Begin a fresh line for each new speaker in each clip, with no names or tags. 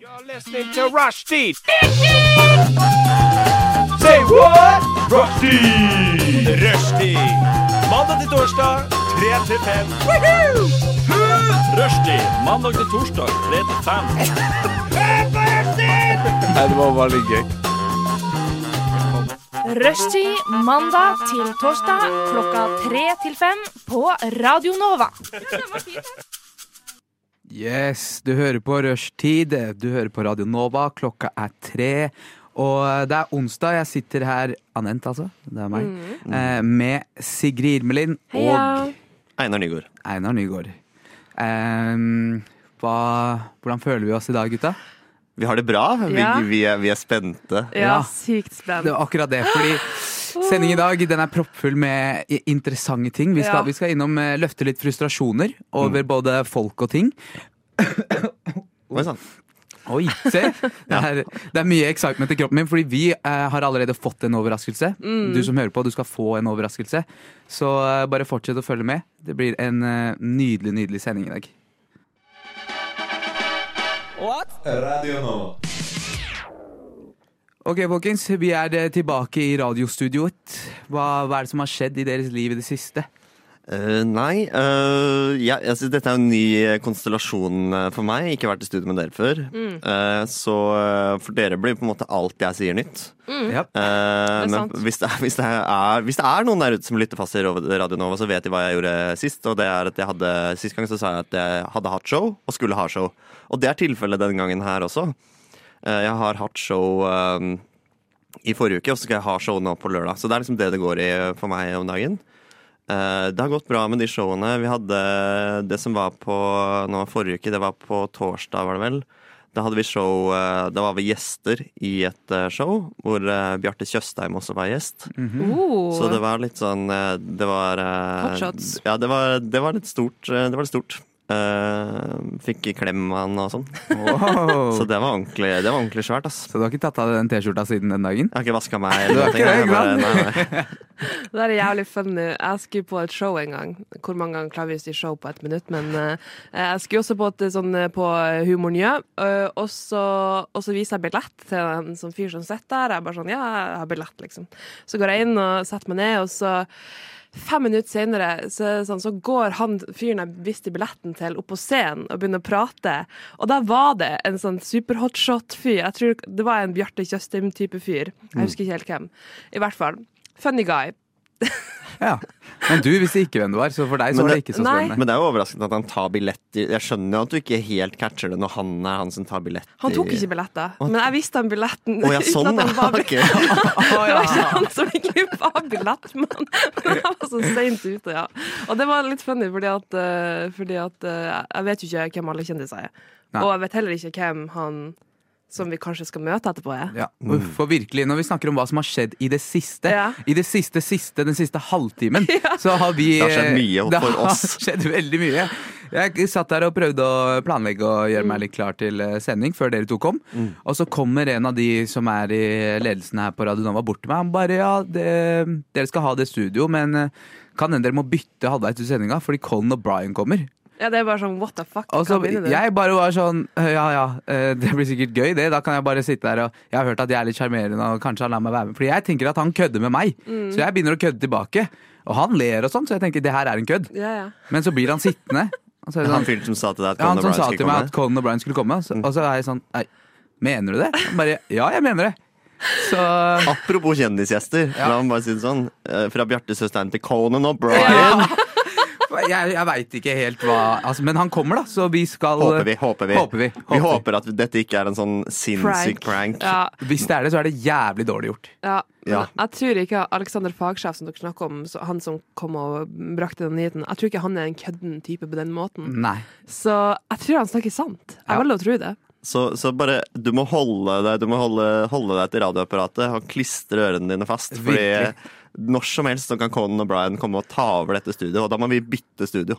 You're listening to Rushdie. Say what? Rushdie. Rushdie. Mandag til torsdag, 3 til 5. Rushdie. Mandag til torsdag, 3 til 5.
Rushtid mandag til torsdag klokka tre til fem på Radio Nova.
Yes, du hører på Rushtid. Du hører på Radio Nova. Klokka er tre. Og det er onsdag. Jeg sitter her Anent, altså. Det er meg. Eh, med Sigrid Irmelin og
Einar Nygaard.
Einar Nygaard. Ehm, hva, hvordan føler vi oss i dag, gutta?
Vi har det bra. Vi,
Ja.
vi, er, vi er spente.
Ja.
Ja, sykt
Det
spennende.
var akkurat det, fordi Sendingen i dag den er proppfull med i- interessante ting. Vi skal,
Ja.
vi skal innom eh, løfte litt frustrasjoner over både folk og ting.
Oi sann.
Oi, se! Det er, det er mye excitement i kroppen min, fordi vi eh, har allerede fått en overraskelse.
Mm.
Du som hører på, du skal få en overraskelse. Så eh, bare fortsett å følge med. Det blir en eh, nydelig, nydelig sending i dag. Ok, folkens. Vi er eh, tilbake i radiostudioet. Hva, hva er det som har skjedd i deres liv i det siste?
Eh, nei, eh, ja, altså, dette er jo en ny eh, konstellasjon eh, for meg. Ikke vært i studio med dere før. Eh, så eh, for dere blir på en måte alt jeg sier, nytt.
Ja.
Eh, men
sant.
hvis det, er, hvis, det er, hvis det er noen der ute som lytter fast i Radio Nova, så vet de hva jeg gjorde sist. Og det er at jeg hadde, Sist gang så sa jeg at jeg hadde hatt show, og skulle ha show. Og det er tilfellet denne gangen her også. Eh, jeg har hatt show eh, i forrige uke, og så skal jeg ha show nå på lørdag. Så det er liksom det det går i for meg om dagen. Eh, Det har gått bra med de showene. Vi hadde det som var på nå forrige uke, det var på torsdag, var det vel. Da hadde vi show eh, Da var vi gjester i et eh, show hvor eh, Bjarte Tjøstheim også var gjest.
Mhm.
Oh.
Så det var litt sånn eh, Det var eh,
Hot shots.
Ja, det var, det var litt stort. eh, Det var litt stort. Eh, fikk klem av han og sånn.
Wow.
Så det var ordentlig, det var ordentlig svært, ass.
oh. Så du har ikke tatt av den T-skjorta siden den dagen?
Jeg har ikke vaska meg.
Du
Eller
har
noe,
ikke det,
jeg
ikke
bare,
sant?
nei, nei.
Det er jævlig funny. Jeg skulle på et show en gang. Hvor mange ganger klarer vi å si show på ett minutt? Men eh, jeg skulle også på et sånn eh, på Humor Njø, eh, og så, og så viser jeg billett til en sånn fyr som sitter der. Jeg er bare sånn, ja, jeg har billett, liksom. Så går jeg inn og setter meg ned, og så Fem minutter senere så, er det sånn, så går han fyren jeg viste billetten til, opp på scenen og begynner å prate. Og der var det en sånn superhotshot-fyr. Jeg tror Det var en Bjarte Tjøstheim-type fyr. Jeg husker ikke helt hvem. I hvert fall. Funny guy.
Ja. Men du visste ikke hvem du var, så for deg så
Men
var det
det-
ikke så
Nei.
spennende.
Men det er jo overraskende at han tar billett i Jeg skjønner jo at du ikke helt catcher det når han er han som tar billett
Han tok
i-
ikke billetter, men jeg visste han billetten.
Å ja, sånn,
uten at han
ja.
var billett.
Ok.
Å,
Det var
ja.
ikke han som egentlig var billettmann, men han var så seint ute, ja. Og det var litt funny, fordi at, eh, fordi at eh, jeg vet jo ikke hvem alle kjendiser er.
Nei.
Og jeg vet heller ikke hvem han som vi kanskje skal møte etterpå, er.
Ja, uff, og virkelig, Når vi snakker om hva som har skjedd i det siste,
Ja.
i det siste, siste, den siste halvtimen, så har vi
Det har skjedd mye
det
for
har
oss.
skjedd veldig mye. Jeg satt der og prøvde å planlegge og gjøre meg litt klar til eh, sending før dere to kom.
Mm.
Og så kommer en av de som er i ledelsen her på Radio Nova bort til meg. Han bare ja, det, dere skal ha det studio, men eh, kan hende dere må bytte halvveis til sendinga fordi Colin og Brian kommer.
Ja, det er bare sånn what the fuck.
Og så
hva mener du?
Altså, jeg bare var sånn Ja ja, eh, det blir sikkert gøy det. Da kan jeg bare sitte der og Jeg har hørt at jeg er litt sjarmerende, og kanskje han lar meg være med. Fordi jeg tenker at han kødder med meg.
Mm.
Så jeg begynner å kødde tilbake. Og han ler og sånn, så jeg tenker det her er en kødd.
Ja, ja.
Men så blir han sittende. Og så er det
Han
sånn,
fyren som sa til deg at
ja, han
Conor
som sa
Bryant skulle
til meg
komme? Mm.
at Colin og Brian skulle komme. Og så, og så er jeg sånn Nei, mener du det? Han bare Ja, jeg mener det. Så
Apropos kjendisgjester, la meg bare si det sånn. Eh, Fra Bjarte Søstein til Conan og Brian.
Ja.
jeg, jeg veit ikke helt hva altså, Men han kommer, da, så vi skal
Håper vi, håper vi.
Håper vi,
Vi
håper vi.
håper at dette ikke er en sånn sinnssyk prank.
Ja,
Hvis det er det, så er det jævlig dårlig gjort.
ja. Men
Ja.
jeg tror ikke Alexander Fagsjef, som dere snakker om, så han som kom og brakte den nyheten, jeg tror ikke han er en kødden type på den måten.
Nei.
Så jeg tror han snakker sant. Jeg
Mm. Ja.
velger å tro det.
Så, så bare du må holde deg, du må holde, holde deg til radioapparatet og klistre ørene dine fast. Fordi
Virkelig.
når som helst så kan Conan og Brian komme og ta over dette studioet, og da må vi bytte studio.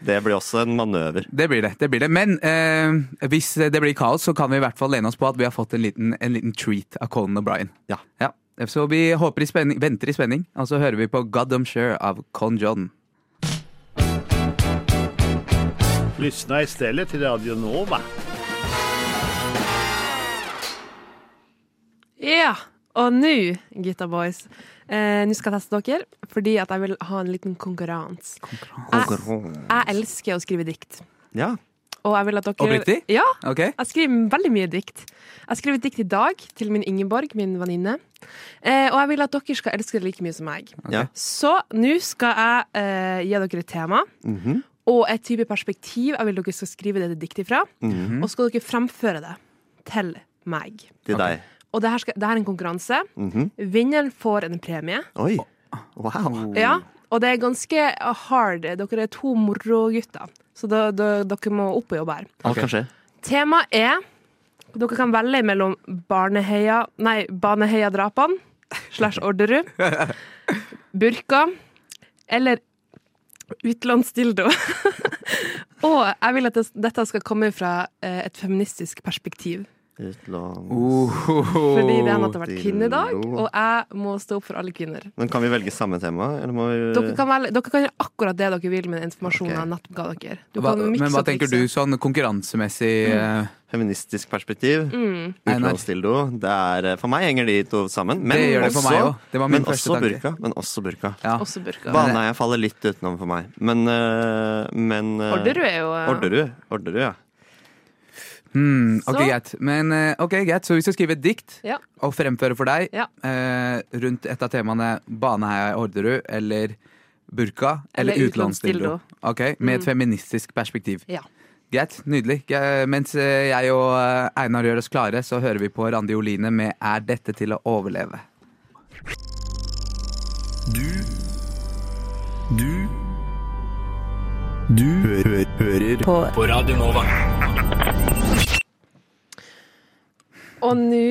Det blir også en manøver.
Det blir det. det blir det. Men eh, hvis det blir kaos, så kan vi i hvert fall lene oss på at vi har fått en liten, en liten treat av Colin og Brian.
Ja.
Ja. Så vi håper i spenning, venter i spenning, og så hører vi på God I'm Sure av Con John.
Lyssna istället till Radio Nova.
Ja, og nå, gutta boys, eh, nå skal jeg teste dere, fordi at jeg vil ha en liten konkurranse. Jeg elsker å skrive dikt.
Ja.
Og jeg vil at dere
Oppriktig?
Ja.
Ok?
Jeg skriver veldig mye dikt. Jeg skrev et dikt i dag til min Ingeborg, min venninne. Eh, og jeg vil at dere skal elske det like mye som meg.
Ja.
Så nå skal jeg eh, gi dere et tema. Og et type perspektiv jeg vil dere skal skrive dette diktet fra. Og så skal dere fremføre det til meg.
Til deg.
Og det her, skal, det her er en konkurranse. Vinneren får en premie.
Oi. Wow.
Ja, og det er ganske hard. Dere er to morogutter, så da, da, dere må opp og jobbe her.
Alt kan skje.
Temaet er Dere kan velge mellom Barneheia Nei, Baneheia-drapene slash Orderud, burka eller utenlandsdildo. og jeg vil at det, dette skal komme fra eh, et feministisk perspektiv.
Utlån
Oh.
Fordi det har nettopp vært
Dildo.
kvinnedag, og jeg må stå opp for alle kvinner.
Men kan vi velge samme tema? Eller må vi
Eh.
Dere kan, velge, dere kan gjøre akkurat det dere vil med den informasjonen
Ok.
jeg nettopp ga dere. Du
Hva,
kan mikse
men hva
og
tenker du
trikse.
sånn konkurransemessig?
Mm.
eh,
Feministisk perspektiv. Mm.
Einar.
Det er, eh, for meg henger de to sammen. Men
Det gjør det for
også,
meg også. Det var min
men
første
også
tanke.
burka. Men også burka.
Ja.
Også burka.
Baneheia faller litt utenom for meg. Men, øh, men øh,
Orderud er jo eh,
Orderud. Orderud, ja.
Hmm, ok,
Så-
greit. Men, eh, ok, greit. Så vi skal skrive et dikt
Ja.
og fremføre for deg
Ja.
eh, rundt et av temaene Baneheia i Orderud eller burka eller,
Eller
utenlandsdildo.
utenlandsdildo.
Ok, Med et feministisk perspektiv.
Ja.
Greit, nydelig. Ge- Mens eh, jeg og eh, Einar gjør oss klare, så hører vi på Randi Oline med 'Er dette til å overleve'?
Du Du Du hø hø hører på. Radio Nova.
Og nå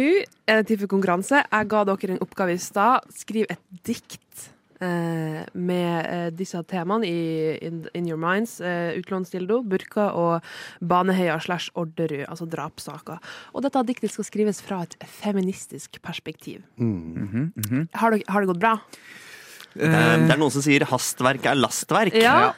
er det tid for konkurranse. Jeg ga dere en oppgave i stad. Skriv et dikt eh, med eh, disse temaene i In, in Your Minds. Eh, Utlånsdildo, burka og Baneheia slash Orderud, altså drapssaker. Og dette diktet skal skrives fra et feministisk perspektiv.
Mm.
har, dere- har det gått bra?
Eh, Det er noen som sier hastverk er lastverk. Jeg kjen-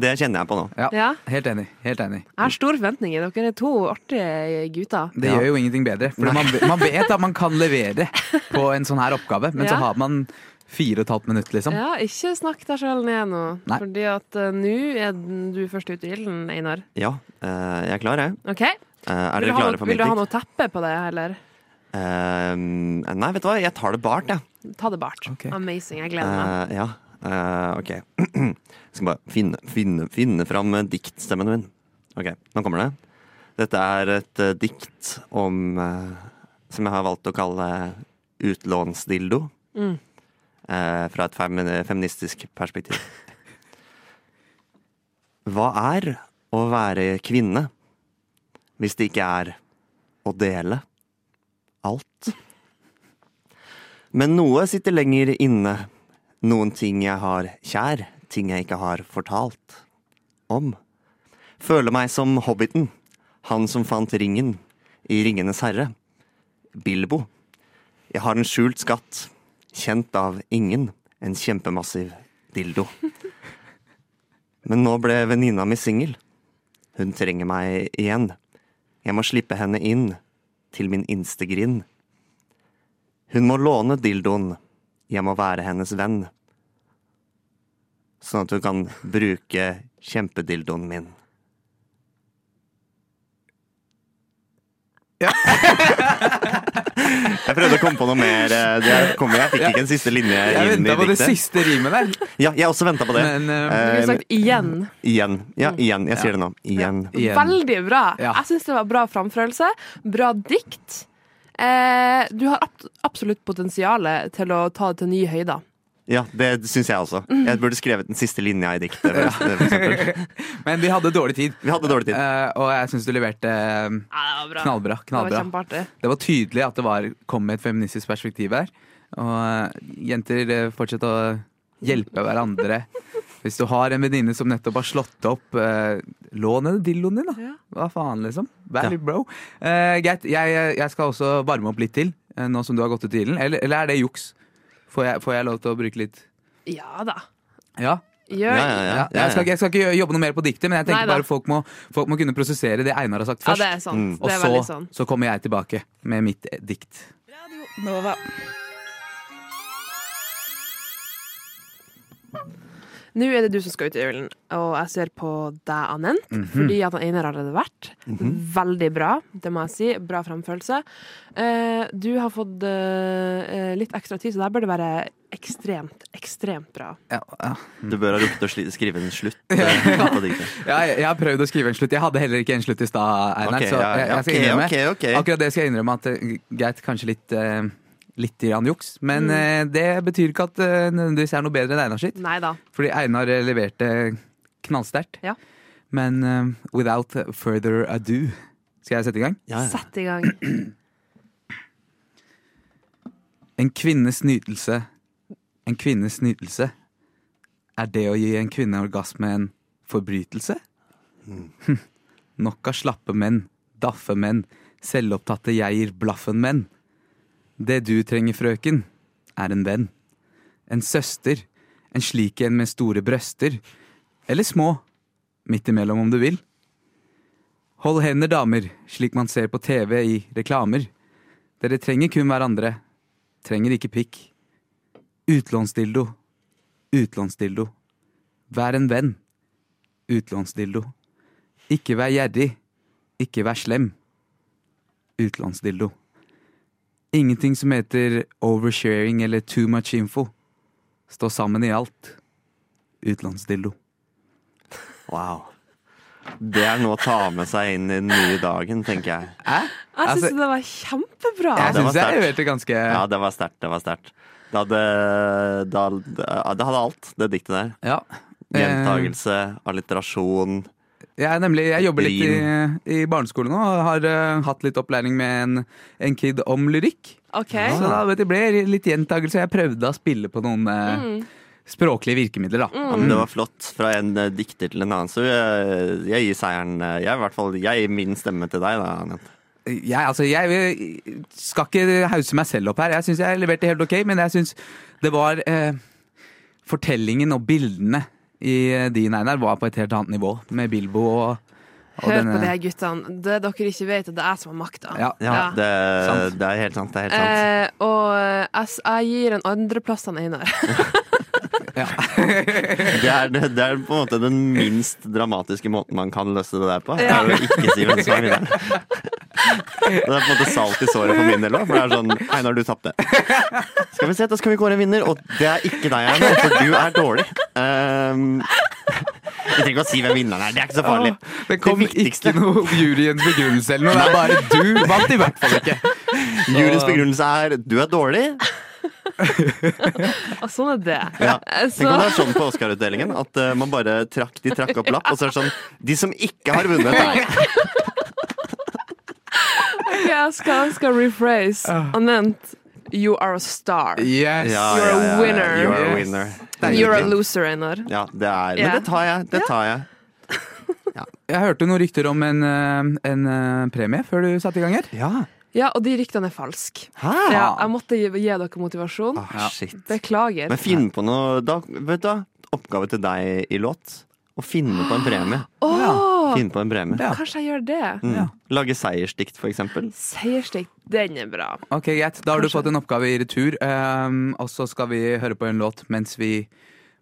Det kjenner jeg på nå.
Ja.
Ja.
Helt enig. helt enig
Jeg har store forventninger. Dere er to artige gutter.
Det gjør jo ingenting bedre. For man, man vet at man kan levere på en sånn her oppgave, men
Ja.
så har man fire og et halvt minutt, liksom.
Ja, ikke snakk deg sjøl ned nå,
Nei.
fordi at eh, nå er du først ute i ilden, Einar.
Ja, eh, jeg er klar, jeg.
OK?
Eh,
Vil
Er dere
du ha noe-
klare for mitt
Vil du ha
dikt?
noe teppe på det, eller?
Eh, Nei, vet du hva, jeg tar det bart, jeg.
Ta det bart. Amazing. Jeg gleder meg.
Eh, Ja. Eh, Ok. Skal bare finne, finne, finne fram eh, diktstemmen min. Ok, nå kommer det. Dette er et eh, dikt om eh, Som jeg har valgt å kalle eh, utlånsdildo. Eh, Fra et femi- feministisk perspektiv. Hva er å være kvinne hvis det ikke er å dele alt? Men noe sitter lenger inne. Noen ting jeg har kjær, ting jeg ikke har fortalt om. Føler meg som hobbiten, han som fant ringen i Ringenes herre. Bilbo. Jeg har en skjult skatt, kjent av ingen, en kjempemassiv dildo. Men nå ble venninna mi singel. Hun trenger meg igjen. Jeg må slippe henne inn, til min innste grind. Hun må låne dildoen. Jeg må være hennes venn. Sånn at hun kan bruke kjempedildoen min. jeg prøvde å komme på noe mer. eh, Det kom, jeg fikk ikke en siste linje
Jeg
inn i
venta på det
diktet.
siste rimet der.
Ja, jeg også venta på det.
Men, eh,
Du
Eh,
kunne sagt igjen.
Igjen. Ja, igjen. Jeg sier det nå. Igjen.
Igjen.
Veldig bra.
Ja.
Jeg syns det var bra framførelse. Bra dikt. Eh, du har ab- absolutt potensial til å ta det til nye høyder.
Ja, det syns jeg også. Jeg burde skrevet den siste linja i diktet. For, for eksempel.
Men vi hadde dårlig tid,
Vi hadde dårlig tid.
eh, og jeg syns du leverte eh,
Ja, det var bra.
knallbra.
Det var
knallbra.
kjempeartig.
Det var tydelig at det var, kom med et feministisk perspektiv her. Og eh, jenter, eh, fortsett å hjelpe hverandre. Hvis du har en venninne som nettopp har slått opp, eh, lån henne dildoen din, da.
Ja.
Hva faen, liksom? Vær
Ja.
litt bro. Eh, Greit, jeg, jeg skal også varme opp litt til, eh, nå som du har gått ut i ilden. Eller, eller er det juks? Får jeg, får jeg lov til å bruke litt
Ja da.
Ja.
Gjør
Ja, ja, ja.
ja.
ja, ja.
Jeg, skal, ikke- jeg skal ikke jobbe noe mer på diktet, men jeg tenker
Neida.
bare folk må, folk må kunne prosessere det Einar har sagt
Ja,
først.
det er sant.
Mm.
Det er
og
veldig
så,
sant.
så kommer jeg tilbake med mitt eh, dikt.
Nova.
Nå er det du som skal ut i julen, og jeg ser på deg, Anent.
Mhm.
Fordi at han Einar har allerede vært. Veldig bra, det må jeg si. Bra framførelse. Eh, du har fått eh, eh, litt ekstra tid, så der bør det være ekstremt, ekstremt bra.
Ja, ja.
Du bør ha rukket å sli- skrive en slutt. eh, på diktet.
Ja, jeg, jeg har prøvd å skrive en slutt. Jeg hadde heller ikke en slutt i stad, Einar.
Ok,
så
ja,
jeg,
ja,
jeg skal
ok,
innrømme
ok, ok.
Akkurat det skal jeg innrømme at eh, greit, kanskje litt eh, Litt grann juks, men
Mm.
eh, det betyr ikke at eh, nødvendigvis er noe bedre enn Einar sitt.
Nei da.
Fordi Einar eh, leverte knallsterkt.
Ja.
Men eh, without further ado Skal jeg sette i gang?
Ja, ja.
Sett i gang.
En kvinnes nytelse En kvinnes nytelse Er det å gi en kvinne orgasme en forbrytelse? Nok av slappe menn, daffe menn Selvopptatte jeg gir blaffen menn Det du trenger frøken Er en venn En søster En slik en med store brøster Eller små Midt imellom om du vil Hold hender damer Slik man ser på TV i reklamer Dere trenger kun hverandre trenger ikke pikk. Utlånsdildo, utlånsdildo. Vær en venn. Utlånsdildo. Ikke vær gjerrig, ikke vær slem. Utlånsdildo. Ingenting som heter oversharing eller too much info. Stå sammen i alt. Utlånsdildo.
Wow. Det er noe å ta med seg inn i den nye dagen, tenker jeg.
Jeg syns
Altså-
det var kjempebra.
Ja,
Jeg
det var
syns jeg
sterkt.
leverte ganske
Ja, det var sterkt. Det var sterkt. Det hadde, det hadde, det hadde alt, det diktet der.
Ja. Eh.
Gjentagelse, alliterasjon.
Jeg, er nemlig, jeg jobber litt i, i barneskolen nå og har eh, hatt litt opplæring med en, en kid om lyrikk.
OK.
Så da vet du, ble det litt gjentagelse. Jeg prøvde å spille på noen eh,
Mm.
språklige virkemidler. da.
Ja, men det var flott fra en eh, dikter til en annen. Så jeg, jeg gir seieren eh, jeg, i hvert fall, jeg gir min stemme til deg, da, Anette.
Jeg, altså, jeg skal ikke hause meg selv opp her. Jeg syns jeg leverte helt ok, men jeg syns det var eh, Fortellingen og bildene i eh, din, Einar, var på et helt annet nivå. Med Bilbo og, og
Hør på det, her, guttene. Det dere ikke vet, er at det er jeg som har makta.
Ja,
Ja,
Ja.
Det,
Sant.
det er helt sant. Det er helt sant.
Eh, og eh, jeg, s- jeg gir en andreplass til Einar.
Det er, det, det er på en måte den minst dramatiske måten man kan løse det der på. Det
Ja.
er å ikke si hvem som er vinneren. Det er på en måte salt i såret for min del òg. For det er sånn Einar, du tapte. Skal vi se, da skal vi kåre en vinner, og det er ikke deg, Einar, for du er dårlig. Ehm, vi trenger ikke å si hvem vinneren er, det er ikke så farlig.
Det kom
viktigste-
ikke noe juryens begrunnelse eller noe. Det er bare du vant, i hvert fall ikke.
Juryens begrunnelse er du er dårlig.
Og sånn er det.
Ja.
Eh,
Tenk om
Så,
det er sånn på Oscar-utdelingen at eh, man bare trakk, de trakk opp lapp, og så er det sånn De som ikke har vunnet, er
Ok, jeg skal, jeg skal rephrase. Anent, you are a star.
Yes.
Ah. Ja,
You're a
ja, ja, ja.
winner.
You're a
Yes.
winner.
You're a loser, Einar.
Ja, det er
Ja.
Men det tar jeg. Det tar jeg.
Jeg hørte noen rykter om en, eh, en eh, premie før du satte i gang her.
Ja.
Ja, og de ryktene er falske.
Hæ?
Ja, jeg måtte gi, gi dere motivasjon.
Ah, shit.
Beklager.
Men finn på noe da, Vet du hva? Oppgave til deg i låt. Å finne på en premie.
Åh,
Finne på en premie.
Ja.
kanskje jeg gjør det?
Mm. Lage seiersdikt, for eksempel.
Seierstikk, den er bra.
Ok, greit. Da har du fått en oppgave i retur. ehm, og så skal vi høre på en låt mens vi,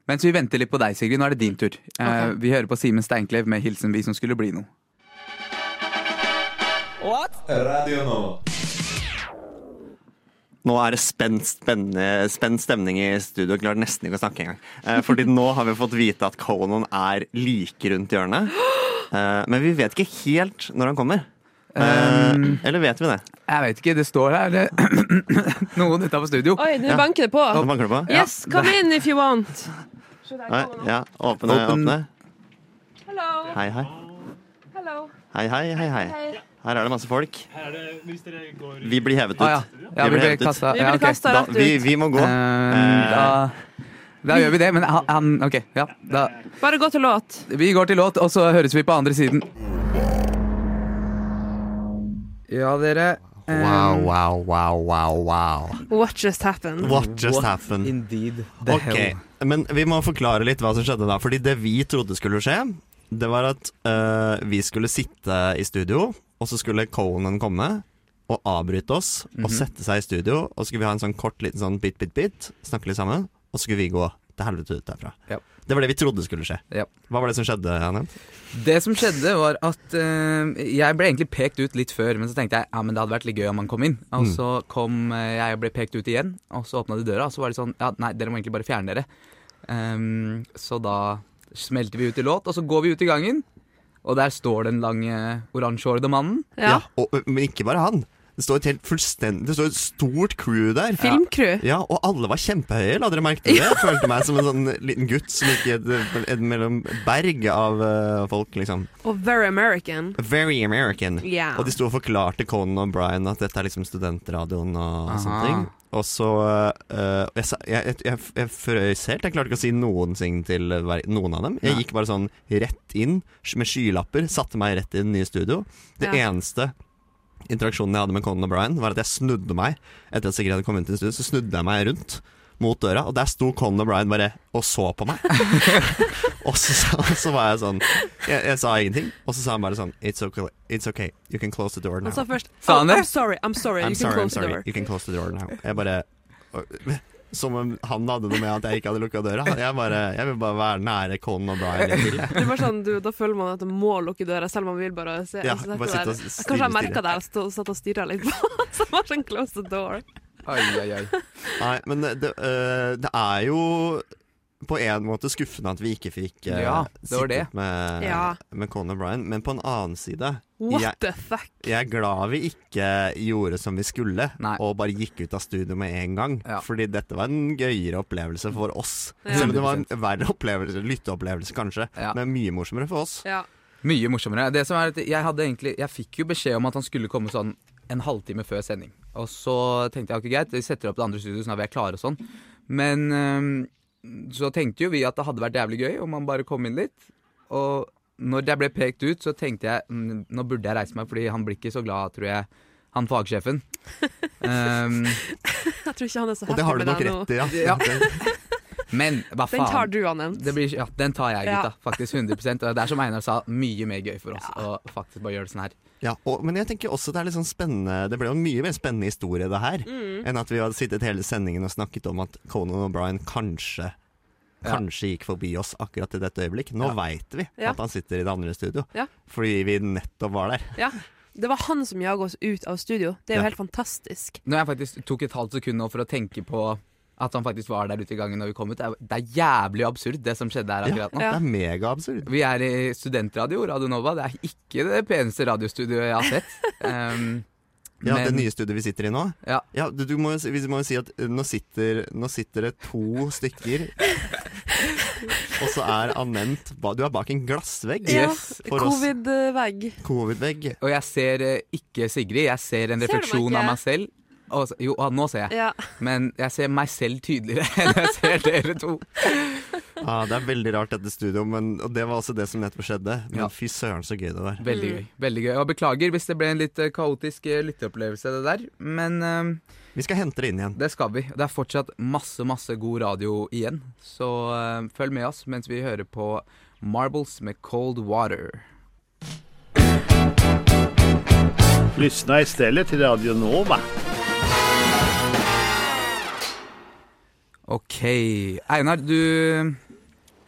mens vi venter litt på deg, Sigrid. Nå er det din tur. Eh, Vi hører på Simen Steinklev med 'Hilsen vi som skulle bli noe'.
Nå er det spent, spennende, spent stemning i studio. Jeg klarer nesten ikke å snakke engang. Eh, Fordi nå har vi fått vite at Conan er like rundt hjørnet. Eh, Men vi vet ikke helt når han kommer. Eh,
Ehm,
Eller vet vi det?
Jeg vet ikke, det står her det- noen utafor studio.
Oi, nå
Ja.
banker det på.
Nå banker det på.
Yes, come in if you want.
Nei, Ja, åpne,
Åpen.
åpne.
Hello,
Hei, hei.
hello.
Hei, hei, hei, hei.
Hei.
Her er det masse folk. Vi blir hevet ut.
Ah, ja. ja, vi
blir
ble
hentet.
kasta.
Vi blir kasta
Da,
rett
vi,
ut.
vi må gå. Eh,
da, da gjør vi det, men han, han Ok, ja. Da.
Bare gå til låt.
Vi går til låt, og så høres vi på andre siden. Ja, dere.
Wow, wow, wow, wow, wow.
What just happened?
What just happened?
Indeed. The
Ok, men vi må forklare litt hva som skjedde da. Fordi det vi trodde skulle skje,
eh,
det var at øh, vi skulle sitte i studio, og så skulle Conan komme.
å avbryte oss og
Mhm.
sette seg i studio. Og så skulle vi ha en sånn kort liten sånn bit, bit, bit, snakke litt sammen. Og så skulle vi gå til helvete ut derfra.
Ja.
Det var det vi trodde skulle skje.
Ja.
Hva var det som skjedde, Hanne?
Det som skjedde var at eh, jeg ble egentlig pekt ut litt før, men så tenkte jeg ja, men det hadde vært litt gøy om han kom inn. Og så kom eh, jeg og ble pekt ut igjen, og så åpna de døra, og så var det sånn ja, nei, dere må egentlig bare fjerne dere. Ehm, så da smelter vi ut i låt, og så går vi ut i gangen, og der står den lange oransjehårede mannen.
Ja.
og, men ikke bare han. Det står et helt fullstendig Det står et stort crew der.
Filmcrew.
Ja, og alle var kjempehøye, la dere merke til det? Jeg følte meg som en sånn liten gutt som gikk i et, et mellom berg av eh, folk, liksom.
Og Very American.
Very American.
Ja.
Og de sto og forklarte Conan og Brian at dette er liksom studentradioen og sånne
Aha.
ting. Og så eh, jeg, sa- jeg, jeg, jeg, jeg frøs helt. Jeg klarte ikke å si noen ting til hver, noen av dem. Jeg
Nei.
gikk bare sånn rett inn sk- med skylapper, satte meg rett i det nye studio. Det
Ja.
eneste interaksjonen jeg hadde med Conan og Brian, var at jeg snudde meg etter at Sigrid hadde kommet inn til studio. Så snudde jeg meg rundt mot døra, og der sto Conan og Brian bare og så på meg. Og så, sa- så var jeg sånn jeg, jeg sa ingenting, og så sa han bare sånn It's okay, it's okay. you can close the door now.
Han sa først
Sa han
«Oh,
det?
I'm sorry, I'm sorry,
I'm
you
sorry,
can
I'm
close the door.
sorry, you can close the door now. Jeg bare Som om han hadde noe med at jeg ikke hadde lukka døra. Jeg bare, jeg vil bare være nære Conan og Brian litt til. jeg.
Det er bare sånn, du, da føler man at man må lukke døra, selv om man vil bare se.
Ja,
så satt jeg
bare sitte
der-
og stirre,
Kanskje jeg
stirre.
merka det, jeg stod- satt og stirra litt på Så det var sånn close the door.
Oi, oi, oi.
Nei, men det, øh, det er jo på en måte skuffende at vi ikke fikk øh,
Ja, det var
sittet
det.
Med,
Ja.
med Conan og Brian, men på en annen side
What
Jeg-
the fuck?
jeg er glad vi ikke gjorde som vi skulle,
Nei.
og bare gikk ut av studio med en gang.
Ja.
Fordi dette var en gøyere opplevelse for oss.
Ja.
Selv om det var en verre opplevelse, lytteopplevelse kanskje,
Ja.
men mye morsommere for oss.
Ja.
Mye morsommere. Det som er at jeg, hadde egentlig, jeg fikk jo beskjed om at han skulle komme sånn en halvtime før sending. Og så tenkte jeg ok, greit, vi setter opp det andre studioet sånn at vi er klare og sånn. Men øhm, så tenkte jo vi at det hadde vært jævlig gøy om han bare kom inn litt. Og når jeg ble pekt ut, så tenkte jeg mm, nå burde jeg reise meg, fordi han blir ikke så glad, tror jeg, han fagsjefen. Ehm,
Jeg tror ikke han er så
Og det har
happy
du
med
nok
deg nå.
rett i, ja.
Ja. men hva faen.
Den tar du, Anne.
Det blir, ja, den tar jeg,
Ja.
gutta. Faktisk 100 Og det er som Einar sa, mye mer gøy for oss å faktisk bare gjøre det sånn her.
Ja, og, men jeg tenker også det er litt sånn spennende Det ble jo en mye mer spennende historie det her
Mm.
enn at vi hadde sittet hele sendingen og snakket om at Conan og Brian kanskje
Ja.
Kanskje gikk forbi oss akkurat i dette øyeblikk. Nå vet veit vi
Ja.
at han sitter i det andre studio,
Ja.
fordi vi nettopp var der.
Ja. Det var han som jaga oss ut av studio. Det er jo
Ja.
helt fantastisk.
Når jeg faktisk tok et halvt sekund nå for å tenke på at han faktisk var der ute i gangen når vi kom ut, det er, det er jævlig absurd det som skjedde her akkurat nå.
Det er megaabsurd.
Vi er i studentradio, Radio Nova. Det er ikke det peneste radiostudioet jeg har sett. Um,
Ja,
men-
det nye studioet vi sitter i nå.
Ja.
du, du må, jo si- vi må jo si at eh, nå sitter, nå sitter det to stykker Og så er anvendt ba- Du er bak en glassvegg.
Yes,
ja.
for oss.
Covid-vegg.
Covid-vegg.
Og jeg ser eh, ikke Sigrid, jeg ser
Ser du
en
meg
refleksjon
ikke?
av meg selv. Og, så- jo, ah, nå ser jeg.
Ja.
Men jeg ser meg selv tydeligere enn jeg ser dere to.
Ja, Ah, det er veldig rart dette studioet, men, og det var også det som nettopp skjedde. Men
Ja.
fy søren så gøy det var.
Mm.
Veldig gøy. veldig gøy. Og beklager hvis det ble en litt eh, kaotisk eh, lytteopplevelse, det der. Men um,
Vi skal hente det inn igjen.
Det skal vi. Det er fortsatt masse, masse god radio igjen. Så eh, følg med oss mens vi hører på Marbles med Cold Water.
Lyssna istället till Radio Nova.
OK. Einar, du,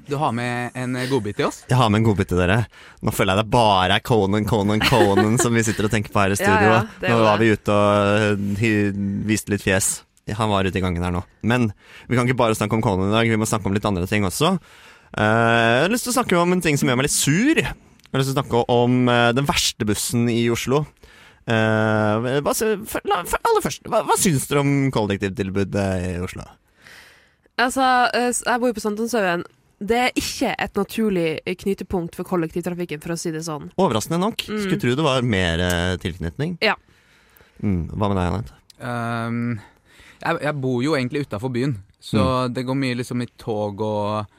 du har med en godbit til oss?
Jeg har med en godbit til dere. Nå føler jeg det bare er Conan, Conan, Conan som vi sitter og tenker på her i studio.
Ja, ja, det er
nå
jo
var
det.
vi ute og øh, hy- viste litt fjes. Han var ute i gangen her nå. Men vi kan ikke bare snakke om Conan i dag, vi må snakke om litt andre ting også. Eh, jeg har lyst til å snakke om en ting som gjør meg litt sur. Jeg har lyst til å snakke om eh, den verste bussen i Oslo. Eh, hva, sy- for, la, for, aller først, hva, hva syns dere om kollektivtilbudet i Oslo?
Altså, eh, s- jeg bor jo på Sankthanshaugen. Det er ikke et naturlig eh, knytepunkt for kollektivtrafikken, for å si det sånn.
Overraskende nok.
Mm.
Skulle tro det var mer eh, tilknytning.
Ja.
Mm, hva med deg, Anette?
Ehm, jeg, jeg bor jo egentlig utafor byen, så det går mye liksom i tog og,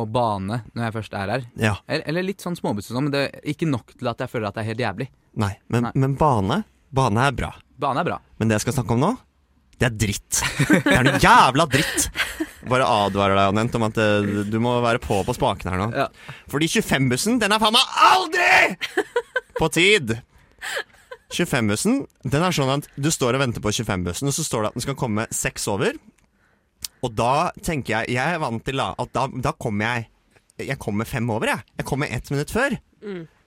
og bane når jeg først er her.
Ja,
Eller, eller litt sånn småbuss og sånn, men det er ikke nok til at jeg føler at det er helt jævlig.
nei. Men,
Nei.
men bane Bane er bra.
Bane er bra.
Men det jeg skal snakke om nå, det er dritt. Det er noe jævla dritt! Bare advarer deg, Anette, om at eh, du må være på på spaken her nå.
Ja.
Fordi 25-bussen, den er faen meg aldri på tid! 25-bussen den er sånn at du står og venter på 25-bussen, og så står det at den skal komme seks over. Og da tenker jeg Jeg er vant til da, at da, da kommer jeg Jeg kommer fem over, jeg. Jeg kommer ett minutt før.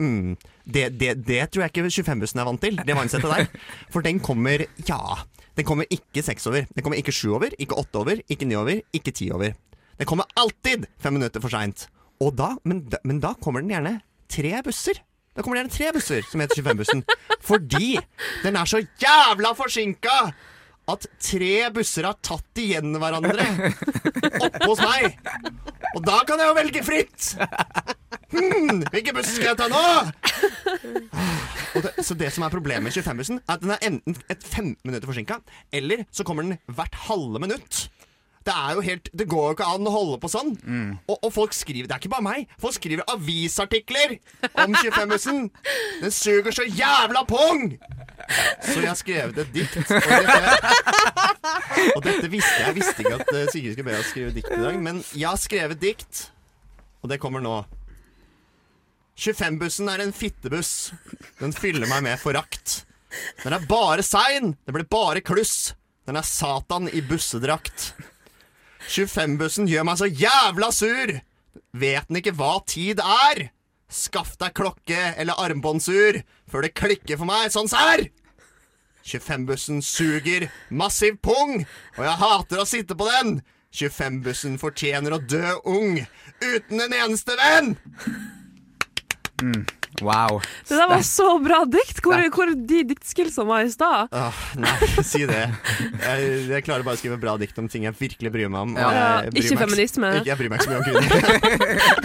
Mm. Det, det, det tror jeg ikke 25-bussen er vant til, det mindsettet der. For den kommer, ja Den kommer ikke seks over. Den kommer ikke sju over, ikke åtte over, ikke ni over, ikke ti over. Den kommer alltid fem minutter for seint. Og da, men, da- men da kommer den gjerne tre busser. Da kommer det gjerne tre busser som heter 25-bussen. Fordi den er så jævla forsinka at tre busser har tatt igjen hverandre oppe hos meg. Og da kan jeg jo velge fritt! Hmm, hvilken buss skal jeg ta nå? Og det, så det som er problemet med 25-bussen, er at den er enten et fem minutter forsinka, eller så kommer den hvert halve minutt. Det er jo helt, det går jo ikke an å holde på sånn. Og, og folk skriver, det er ikke bare meg, folk skriver avisartikler om 25-bussen. Den suger så jævla pung! Så jeg har skrevet et dikt. Og dette, og dette visste jeg. Jeg visste ikke at eh, Sigrid skulle be oss skrive dikt i dag, men jeg har skrevet dikt, og det kommer nå. 25-bussen er en fittebuss. Den fyller meg med forakt. Den er bare sein, det blir bare kluss. Den er Satan i bussedrakt. 25-bussen gjør meg så jævla sur! Vet den ikke hva tid er? Skaff deg klokke eller armbåndsur før det klikker for meg sånn sær! 25-bussen suger massiv pung, og jeg hater å sitte på den! 25-bussen fortjener å dø ung, uten en eneste venn!
Wow.
Det der var så bra dikt! Hvor, hvor er de diktskillsene var i stad?
Åh, Ah, nei, si det. Jeg, jeg klarer bare å skrive bra dikt om ting jeg virkelig bryr meg om. og
Ja.
jeg bryr
Ikke
meg s-
feminisme.
Ikke, jeg bryr meg ikke så mye om kvinner.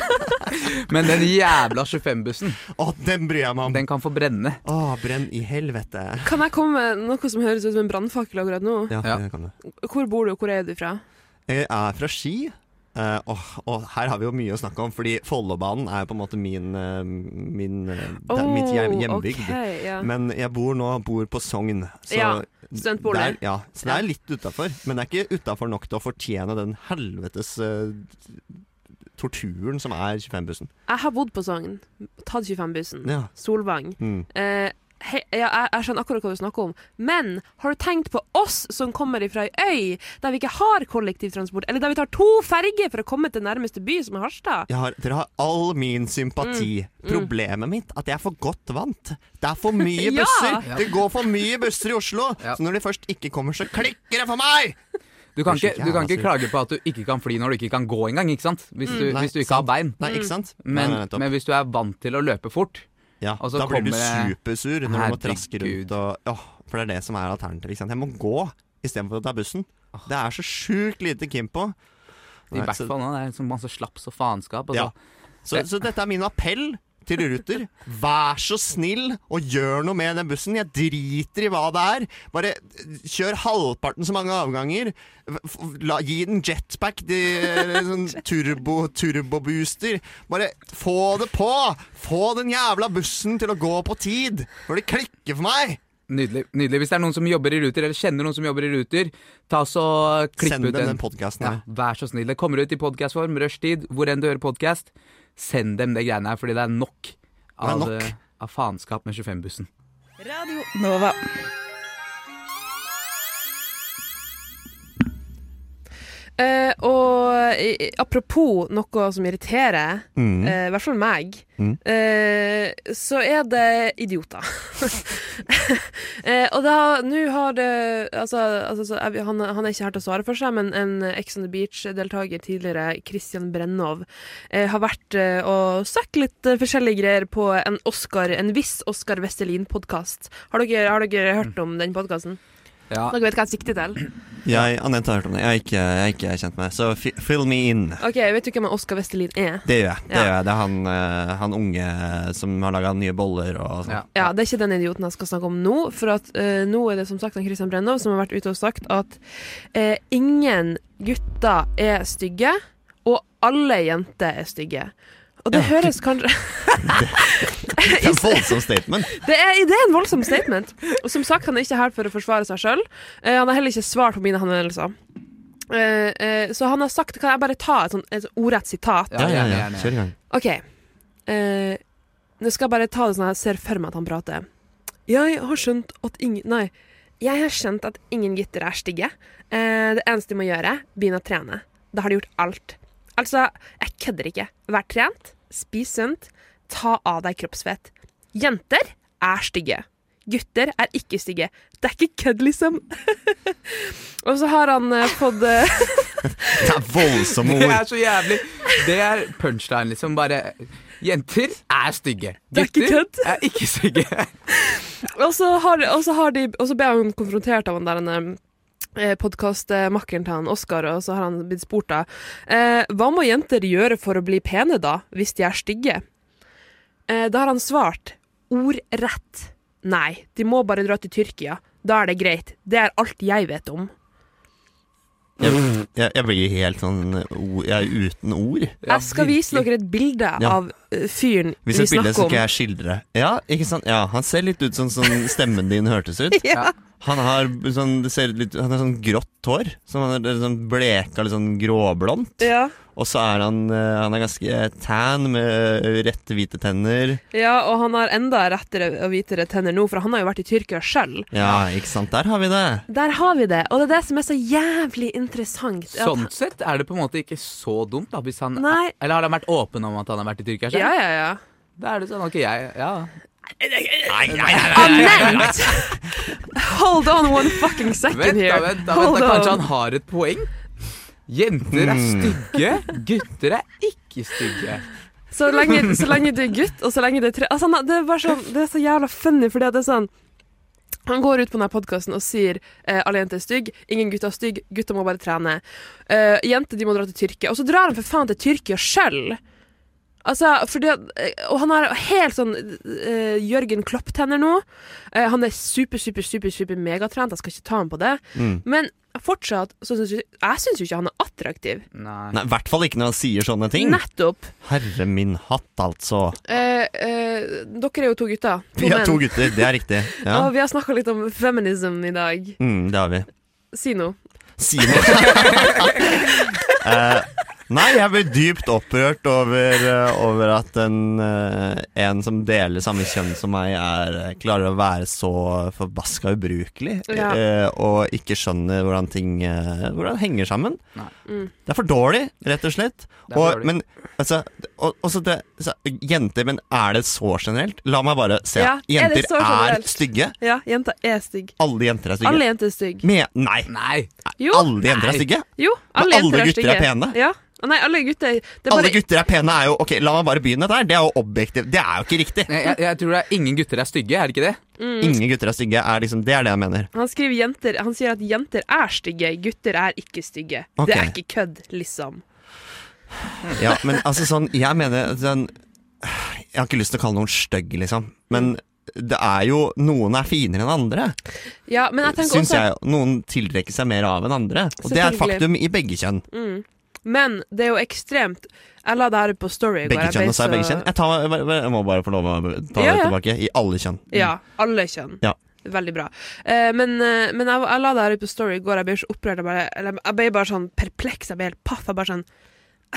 Men den jævla 25-bussen,
Åh, den bryr jeg meg om.
den kan få brenne.
Åh, brenn i helvete.
Kan jeg komme med noe som høres ut som en brannfakkel akkurat nå?
Ja,
Ja.
det kan du.
Hvor bor du, og hvor er du fra?
Jeg er fra Ski. eh, og, og her har vi jo mye å snakke om, fordi Follobanen er jo på en måte min, eh, min eh, det er mitt hjem,
Åh,
hjembygd.
ok, ja.
Men jeg bor nå bor på Sogn. Så
Ja, studentbolig.
der- Ja, så det er litt utafor. Men det er ikke utafor nok til å fortjene den helvetes eh, torturen som er 25-bussen.
Jeg har bodd på Sogn. Tatt 25-bussen.
Ja.
Solvang.
Mm.
Eh, hei- ja, jeg, jeg skjønner akkurat hva du snakker om. Men har du tenkt på oss som kommer fra ei øy der vi ikke har kollektivtransport, eller der vi tar to ferger for å komme til nærmeste by, som er Harstad?
Jeg har, dere har all min
Mm,
sympati. Problemet mitt er at jeg er for godt vant. Det er for mye
Ja.
busser! Det går for mye busser i Oslo!
Ja.
Så når de først ikke kommer, så klikker det for meg!
Du kan, ikke,
Kanskje ikke
du kan
jeg,
ikke klage på at du ikke kan fly når du ikke kan gå engang, ikke sant? Hvis du,
Mm, Nei,
hvis du ikke
sant.
har bein.
Nei,
Mm.
ikke sant? Nei,
Men,
nei, nettopp.
men hvis du er vant til å løpe fort
ja,
og så
da blir du
kommer-
supersur når du må traske
Herregud.
rundt og åh, For det er det som er alternativet. ikke sant? Jeg må gå istedenfor å ta bussen. Det er så sjukt lite Kim på.
I
Nei,
hvert
så-
fall nå, det er så masse slaps og faenskap. altså. Og så.
Ja. Så, så dette er min appell til Ruter. Vær så snill og gjør noe med den bussen. Jeg driter i hva det er. Bare kjør halvparten så mange avganger. F- La, gi den jetpack, de, eller sånn turbo, turbobooster. Bare få det på! Få den jævla bussen til å gå på tid! Før det klikker for meg!
Nydelig. nydelig. Hvis det er noen som jobber i Ruter, eller kjenner noen som jobber i Ruter, ta så klipp
Send
ut
dem
en
den podkasten
ja,
her.
Vær så snill. Det kommer ut i podkastform, rushtid, hvor enn du hører podkast. Send dem det greiene her, fordi det er nok
er
av,
nok.
eh, av faenskap med 25-bussen.
Eh, og i- i- apropos noe som irriterer, eh, i hvert fall meg, eh, så er det idioter. eh, og da, nå har det altså, altså, så er vi- han, han er ikke her til å svare for seg, men en Ex on the Beach-deltaker tidligere, Christian Brennov, eh, har vært eh, og søkt litt eh, forskjellige greier på en Oscar, en viss Oscar Vestelin-podkast. Har, dere- har dere hørt om den podkasten?
Ja.
Mm. Dere vet hva jeg sikter til?
Jeg, Anette har hørt om det. Jeg er ikke, jeg er ikke kjent med det. Så fi- fill me in.
Ok, Vet du hvem en Oscar Vestelin er?
Det gjør jeg. Det,
Ja.
gjør jeg. det er han, eh, han unge som har laga nye boller og sånn.
Ja.
Ja, Det er ikke den idioten jeg skal snakke om nå. For at eh, nå er det som sagt han Christian Brennov som har vært ute og sagt at eh, ingen gutter er stygge, og alle jenter er stygge. Og det høres kanskje
Det er en voldsom statement.
det er, det er en voldsom statement. Og som sagt, han er ikke her for å forsvare seg sjøl. han har heller ikke svart på mine henvendelser. Eh, eh, så han har sagt Kan jeg bare ta et, sånn, et ordrett sitat?
Ja, gjerne, gjerne.
i gang.
OK. Eh, nå skal jeg bare ta det sånn jeg ser for meg at han prater. Jeg har skjønt at ingen Nei. Jeg har skjønt at ingen gutter er stygge. Eh, det eneste de må gjøre, begynne å trene. Da har de gjort alt. Altså, jeg kødder ikke. Vær trent, spis sunt, ta av deg kroppsfett. Jenter er stygge. Gutter er ikke stygge. Det er ikke kødd, liksom. Og så har han eh, fått eh,
Det er voldsomme
Det
ord.
er så jævlig. Det er punchline, liksom. Bare Jenter er stygge.
Det er ikke
Gutter
kødd.
er ikke stygge.
Og så har, og så har de Og så ble hun konfrontert av han der en podkastmakkeren til han Oskar, og så har han blitt spurt da eh, Hva må jenter gjøre for å bli pene, da, hvis de er stygge? Eh, da har han svart ordrett nei. De må bare dra til Tyrkia. Da er det greit. Det er alt jeg vet om.
Jeg, jeg, jeg blir helt sånn o- Jeg er uten ord.
jeg skal vise dere et bilde
Ja.
av eh, fyren vi
Hvis et
snakker
bilde så
om.
skal jeg skildre. Ja, ikke sant? Ja, han ser litt ut sånn som stemmen din hørtes ut.
Ja.
Han har sånn, det ser litt, han har sånn grått hår. Som han er sånn bleka, litt sånn gråblondt.
Ja.
Og så er han, eh, han er ganske tan med rette hvite tenner.
ja, og han har enda rettere og hvitere tenner nå, for han har jo vært i Tyrkia sjøl.
Ja, ikke sant? Der har vi det.
Der har vi det, og det er det som er så jævlig interessant. at-
Sånn sett er det på en måte ikke så dumt, da. Hvis han,
Nei.
eller har han vært åpen om at han har vært i Tyrkia? selv?
Ja, ja, ja.
Da er det sånn, ok, jeg ja.
Annet! Hold on one fucking
Vent,
second
da,
here.
vent, da, vent,
Hold
da. Kanskje
on.
han
Hmm.
har et poeng? Jenter er stygge, gutter er ikke stygge.
Så lenge, så lenge du er gutt, og så lenge du er tre altså, han- det, er bare sånn, det er så jævla funny, fordi at det er sånn Han går ut på denne podkasten og sier eh, alle jenter er stygge, ingen gutter er stygge, gutter må bare trene. Eh, jenter de må dra til Tyrkia. Og så drar han for faen til Tyrkia sjøl! Altså, fordi, at- eh, og han har helt sånn eh, Jørgen Klopp-tenner nå. Eh, han er super, super, super, super megatrent, jeg skal ikke ta ham på det.
Mm.
Men fortsatt så syns jeg Jeg syns jo ikke han er attraktiv.
Nei.
Nei, I hvert fall ikke når han sier sånne ting.
Nettopp.
Herre min hatt, altså.
Eh, eh, dere er jo to gutter. To
Vi er
menn.
to gutter, det er riktig. Ja.
Og vi har snakka litt om feminism i dag.
Mm, det har vi.
Si noe.
Si noe. Eh, nei, jeg blir dypt opprørt over, eh, over at en, eh, en som deler samme kjønn som meg, er, eh, klarer å være så forbaska ubrukelig.
Ja.
eh, og ikke skjønner hvordan ting eh, Hvordan henger sammen.
Nei.
Mm.
Det er for dårlig, rett og slett.
Det er for
Og,
dårlig.
men, altså, og, og så det, så, jenter, men er det så generelt? La meg bare se.
Ja, er
jenter
det så generelt?
er stygge.
Ja, jenta er stygg.
Alle jenter er stygge.
Alle jenter er stygge.
Men- nei,
Nei.
Jo,
alle jenter
Nei.
er stygge.
jo alle
Men alle
jenter er
gutter
stygge.
er pene.
Ja. Nei, alle gutter det er
Alle
bare,
gutter er pene er jo Ok, la meg bare begynne der. Det er jo objektivt. Det er jo ikke riktig.
Jeg, jeg, jeg tror det er ingen gutter er stygge, er det ikke det?
Mm.
Ingen gutter er stygge. Er liksom, det er det jeg mener.
Han skriver jenter Han sier at jenter er stygge, gutter er ikke stygge.
Ok.
Det er ikke kødd, liksom. Mm.
Ja, men altså sånn Jeg mener sånn, Jeg har ikke lyst til å kalle noen stygg, liksom. Men det er jo Noen er finere enn andre,
Ja, men jeg tenker
syns
også
jeg. Noen tiltrekker seg mer av enn andre. Og det er et
Selvfølgelig. Mm.
faktum i begge kjønn.
Men det er jo ekstremt Jeg la det her ut på Story i går.
Begge
jeg ble
kjønn, og så er begge
så-
kjønn. Jeg, tar, jeg, bare- jeg må bare få lov å ta
Ja,
det
ja.
tilbake. I alle kjønn.
Ja, alle kjønn.
Mm. Ja.
Veldig bra. Eh, men eh, men jeg, jeg la det her ut på Story i går. Jeg ble så opprørt. Jeg, bare, eller, jeg ble bare sånn perpleks. Jeg ble helt paff. Jeg bare sånn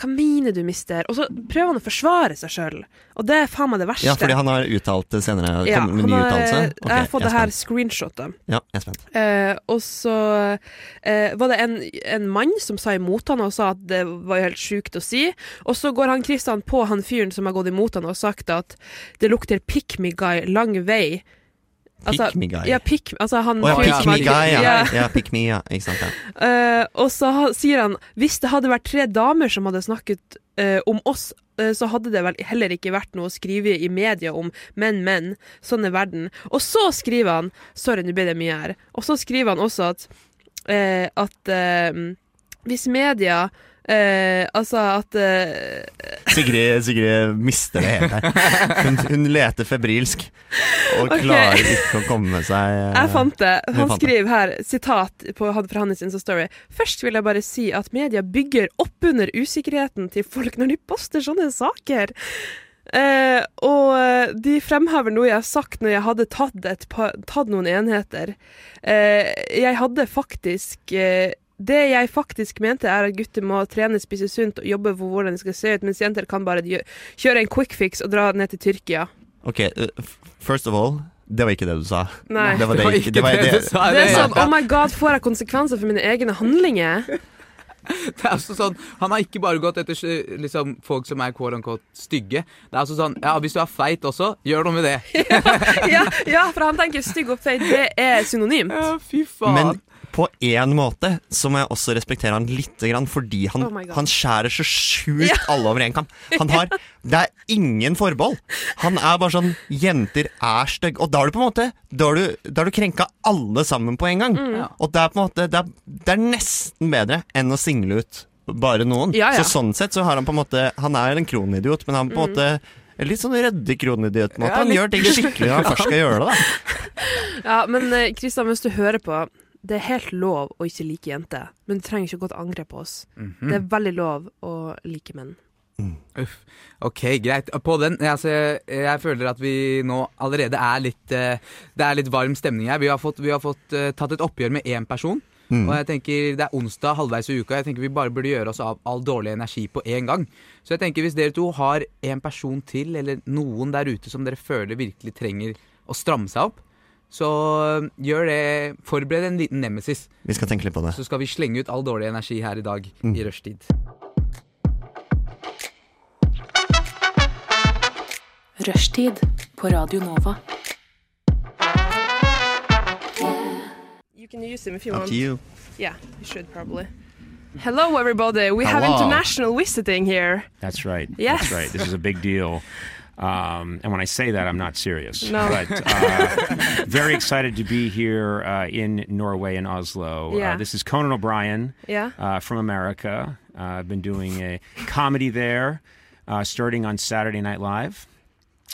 Hva mener du, mister? Og så prøver han å forsvare seg sjøl. Og det er faen meg det verste.
Ja, fordi han har uttalt det senere. Kommer
Ja,
med
han
ny
har,
uttalelse.
eh,
Ok,
jeg har fått
jeg er
det her
spent.
screenshotet.
Ja, jeg er spent.
Eh, og så eh, var det en, en mann som sa imot han og sa at det var jo helt sjukt å si. Og så går han Kristian på han fyren som har gått imot han og sagt at det lukter pick me guy lang vei. Altså,
Pick me guy.
Ja, pick, altså han
Å ja,
fyren
pick
som
me
har-
guy, ja.
Ja.
ja. Pick me, ja. Ikke sant, ja.
Eh, og så ha, sier han hvis det hadde vært tre damer som hadde snakket eh, om oss, eh, så hadde det vel heller ikke vært noe å skrive i media om menn, menn, sånn er verden. Og så skriver han Sorry, nå ble det mye her. Og så skriver han også at, eh, at eh, hvis media eh, altså at eh,
Sigrid, Sigrid mister det helt her. Hun, hun leter febrilsk og
Ok.
klarer ikke å komme seg eh,
Jeg fant det.
du
Han
fant det.
skriver her, sitat på, han- fra hans Insta-story. Først vil jeg bare si at media bygger opp under usikkerheten til folk når de poster sånne saker. Eh, og eh, de fremhever noe jeg har sagt når jeg hadde tatt, et par, tatt noen enheter. Eh, jeg hadde faktisk eh, Det jeg faktisk mente, er at gutter må trene, spise sunt og jobbe for hvordan de skal se ut, mens jenter kan bare gjø- kjøre en quick fix og dra ned til Tyrkia.
Ok, eh, f- eh, first of all, Det var ikke det du sa.
Nei.
Det var det, ikke, det, var det,
du sa.
Det er sånn Oh my god, får jeg konsekvenser for mine egne handlinger?
Det er altså sånn, Han har ikke bare gått etter eh, liksom, folk som er quote unquote stygge. Det er altså sånn, ja, Hvis du er feit også, gjør noe med det.
ja, ja, for han tenker stygg og feit, det er synonymt.
Ja, fy faen.
Men på én måte så må jeg også respektere han litt, grann, fordi han,
Oh my God.
han skjærer så sjukt alle over én kam. Han har, det er ingen forbehold. Han er bare sånn 'jenter er stygge'. Og da har du på en måte Da har du, da har du krenka alle sammen på en gang.
Mm.
Og det er på en måte det er, det er nesten bedre enn å single ut bare noen.
Ja, Mm. ja.
Så sånn sett så har han på en måte Han er en kronidiot, men han på en måte en Litt sånn ryddig kronidiot. på en
Ja,
måte. han
litt.
gjør ting skikkelig når han først skal gjøre det. da
Ja, men eh, Kristian, hvis du hører på Det er helt lov å ikke like jenter, men du trenger ikke å gå til angrep på oss.
Mhm.
Det er veldig lov å like menn.
Uff. Ok, greit. På den, altså, jeg- jeg føler at vi nå allerede er litt eh, Det er litt varm stemning her. Vi har fått, vi har fått eh, tatt et oppgjør med én person. Og jeg tenker Det er onsdag halvveis i uka. Jeg tenker Vi bare burde gjøre oss av all dårlig energi på én gang. Så jeg tenker hvis dere to har en person til, eller noen der ute som dere føler virkelig trenger å stramme seg opp, så eh, gjør det Forbered en liten nemesis,
Vi skal tenke litt på det.
så skal vi slenge ut all dårlig energi her i dag i rushtid.
Rushtid på Radio Nova.
You can use him if you
Up to you.
Yeah, you should probably. Hello, everybody. We have
Hello.
international visiting here.
That's right.
Yes.
That's right. This is a big deal. Um, and when I say that, I'm not serious.
No.
But uh, very excited to be here uh, in Norway, in Oslo.
Yeah.
Uh, this is Conan O'Brien
Yeah.
uh, from America. Uh, I've been doing a comedy there, uh, starting on Saturday Night Live.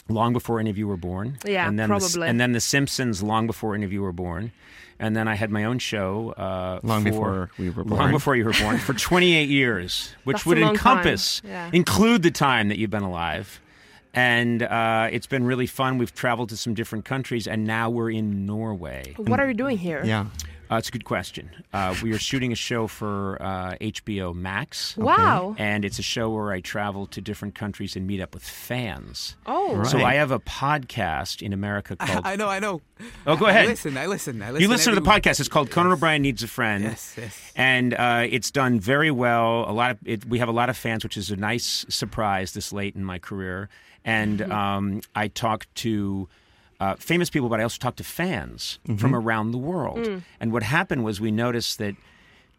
Long before any of you were born,
Yeah,
and then The,
probably.
and then The Simpsons, long before any of you were born, and then I had my own show uh,
Long
for-
before we were born.
long before you were born, for 28 years, which
That's a
would
long time.
encompass,
Yeah.
include the time that you've been alive. And uh, it's been really fun. We've traveled to some different countries, and now we're in Norway.
What are you doing here?
Ja.
Uh, it's a good question. Uh, we are shooting a show for uh, HBO Max.
Wow.
And it's a show where I travel to different countries and meet up with fans.
Oh.
So
Right.
I have a podcast in America called.
I know, I know.
Oh, go
I-
ahead.
I listen, I listen. I listen
you listen to the
every week.
podcast. It's called Conan O'Brien Needs a Friend.
Yes, yes.
And uh, it's done very well. A lot of it, we have a lot of fans, which is a nice surprise this late in my career. And um, I talk to uh, famous people, but I also talk to fans from around the world. And what happened was we noticed that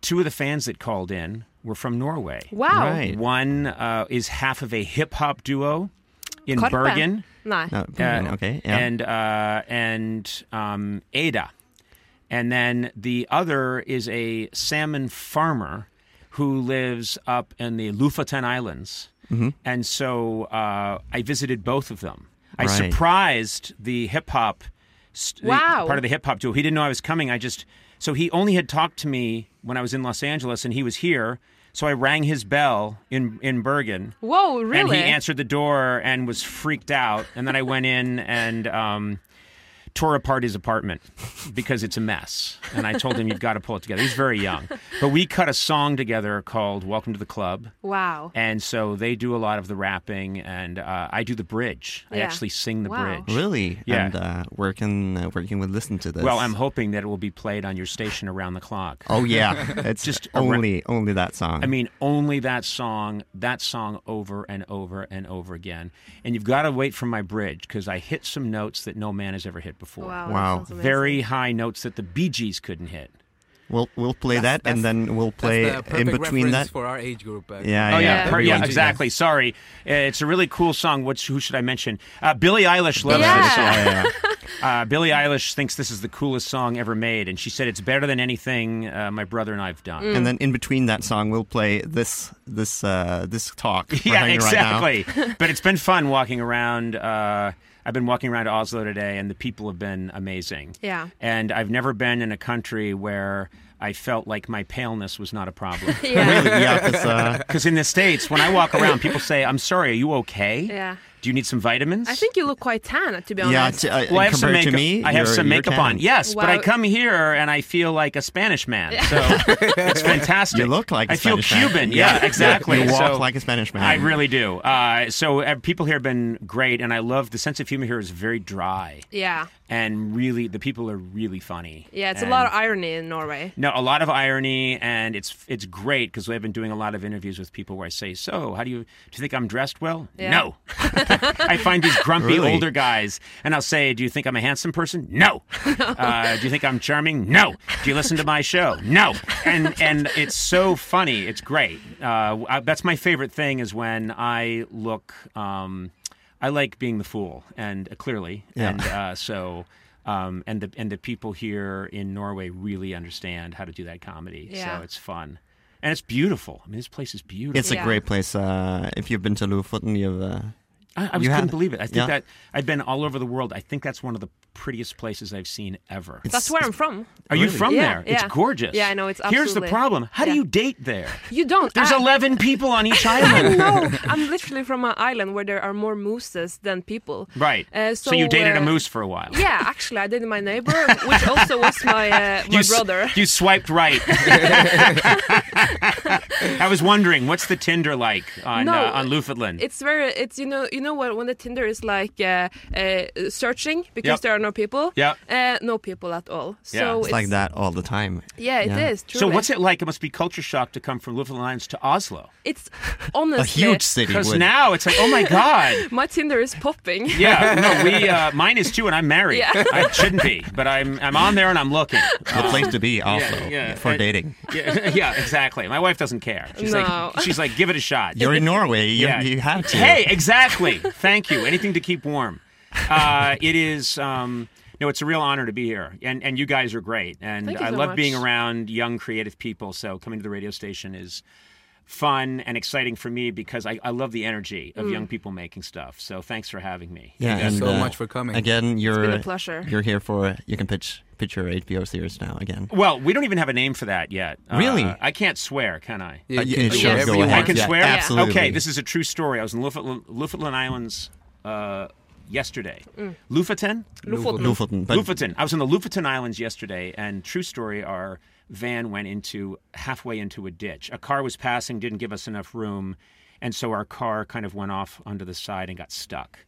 two of the fans that called in were from Norway.
Wow.
Right.
One uh, is half of a hip hop duo in
Karpe.
Bergen.
Nei.
Ja,
Uh,
ok, ja.
and uh, and um, Ada, and then the other is a salmon farmer who lives up in the Lofoten Islands, and so uh, I visited both of them. I
Right.
surprised the hip hop st- the-
Wow.
part of the hip hop duo. He didn't know I was coming. I just so he only had talked to me when I was in Los Angeles, and he was here. So I rang his bell in in Bergen.
Wow,
And
really?
he answered the door and was freaked out. And then I went in and um, tore apart his apartment because it's a mess. And I told him, you've got to pull it together. He's very young. But we cut a song together called Welcome to the Club.
Wow.
And so they do a lot of the rapping, and uh, I do the bridge. I
Yeah.
actually sing the
Wow.
bridge.
Really?
Yeah.
And uh, where can uh, where can we listen to this?
Well, I'm hoping that it will be played on your station around the clock.
Oh yeah, it's
Just
just
a ra-
only only that song.
I mean, only that song, that song over and over and over again. And you've got to wait for my bridge because I hit some notes that no man has ever hit before.
Wow. that
Wow.
sounds amazing.
Very high notes that the Bee Gees couldn't hit.
we'll we'll play that and then we'll play
That's the
in
perfect
between
reference
that.
for our age group. uh,
Yeah, yeah,
Oh yeah, per- yeah,
everyone-
exactly. Sorry, Uh, it's a really cool song. What's who should I mention? Uh, Billie Eilish loves this song.
Yeah.
Yeah,
Uh, Billie Eilish thinks this is the coolest song ever made, and she said it's better than anything uh, my brother and I've done.
and then in between that song, we'll play this this uh, this talk. we're
yeah,
having Right now.
exactly. but it's been fun walking around. Uh, I've been walking around Oslo today, and the people have been amazing.
Yeah.
And I've never been in a country where I felt like my paleness was not a problem.
Yeah.
Really? Yeah, 'cause, uh,
Because in the States, when I walk around, people say, I'm sorry, are you okay?
Yeah.
Do you need some vitamins?
I think you look quite tan, to be
Yeah,
honest.
uh,
t- I- Well, I have some compared to makeup- me, I have you're- some you're makeup tan. on. Yes, but I come here and I feel like a Spanish man. So it's fantastic.
You look like a
I feel
Spanish man.
Cuban.
Yeah.
Yeah, exactly.
You walk
So
like a Spanish man.
I really do. Uh, so uh, people here have been great, and I love the sense of humor here is very dry
Yeah.
and really the people are really funny.
Yeah, it's
And-
a lot of irony in Norway.
no, a lot of irony, and it's it's great because I've been doing a lot of interviews with people where I say, "So, how do you do you think I'm dressed well?"
Yeah.
No, I find these grumpy
Really?
older guys, and I'll say, "Do you think I'm a handsome person?" No. uh, do you think I'm charming? No. Do you listen to my show? No. And and it's so funny. It's great. Uh, I- that's my favorite thing is when I look. Um, I like being the fool, and uh, clearly,
Yeah.
and uh, so. Um, and the and the people here in Norway really understand how to do that comedy,
Yeah.
so it's fun, and it's beautiful. I mean, this place is beautiful.
It's a great place. Uh, if you've been to Lofoten, you've. Uh,
I, I was
you
couldn't
had-
believe it. I think
Yeah.
that I've been all over the world. I think that's one of the prettiest places I've seen ever.
That's where I'm from.
Are you from
Yeah,
there? It's
yeah.
gorgeous.
Yeah, I know. It's
Here's the
absolutely-
problem. How
Yeah. Uh,
do you date there?
You don't.
There's
I-
11 people on each
I
island.
know. I'm literally from an island where there are more mooses than people.
Right.
Uh,
so, you dated
uh,
a moose for a while.
Yeah, actually, I dated my neighbor, which also was my uh,
you
my
s-
brother.
you swiped right. I was wondering, what's the Tinder like on
No,
uh, on Lufoten?
It's very. It's you know you know when when the Tinder is like uh, uh, searching because
Yep.
there are no people.
Yep.
Uh, no people at all. So
Yeah.
it's,
It's like that all the time.
Yeah, it is,
So
truly.
what's it like? It must be culture shock to come from Lufoten Islands to Oslo.
It's honestly
city
Because
would-
now it's like, oh my god.
my Tinder is popping.
Yeah, no, we uh, mine is too, and I'm married.
Yeah.
I shouldn't be, but I'm I'm on there and I'm looking.
The
Uh,
place to be, Oslo, for
And-
dating.
Yeah, yeah, exactly. My wife doesn't care. She's
No.
like, she's like, give it a shot.
You're in Norway. You, you have to.
Hey, exactly. Thank you. Anything to keep warm. Uh, it is. Um, no, it's a real honor to be here, and and you guys are great, and
Thank you
I
so
love
much.
being around young, creative people. So coming to the radio station is fun and exciting for me because I, I love the energy of
Mm.
young people making stuff. So thanks for having me.
Yeah,
You guys
and,
are
uh,
great.
Again, you're
been a pleasure.
You're here for you can pitch pitch your HBO series now again.
Well, we don't even have a name for that yet. Uh,
Really?
I can't swear, can I?
Yeah, you Uh, can yeah, sure, whatever go you ahead.
I can
want.
swear?
Yeah, absolutely.
Okay, this is a true story. I was in Lofoten, Lofoten Islands uh, yesterday.
Mm.
Lofoten?
Lofoten. Lofoten, but-
Lofoten. I was in the Lofoten Islands yesterday, and true story, our van went into halfway into a ditch. A car was passing, didn't give us enough room, and so our car kind of went off onto the side and got stuck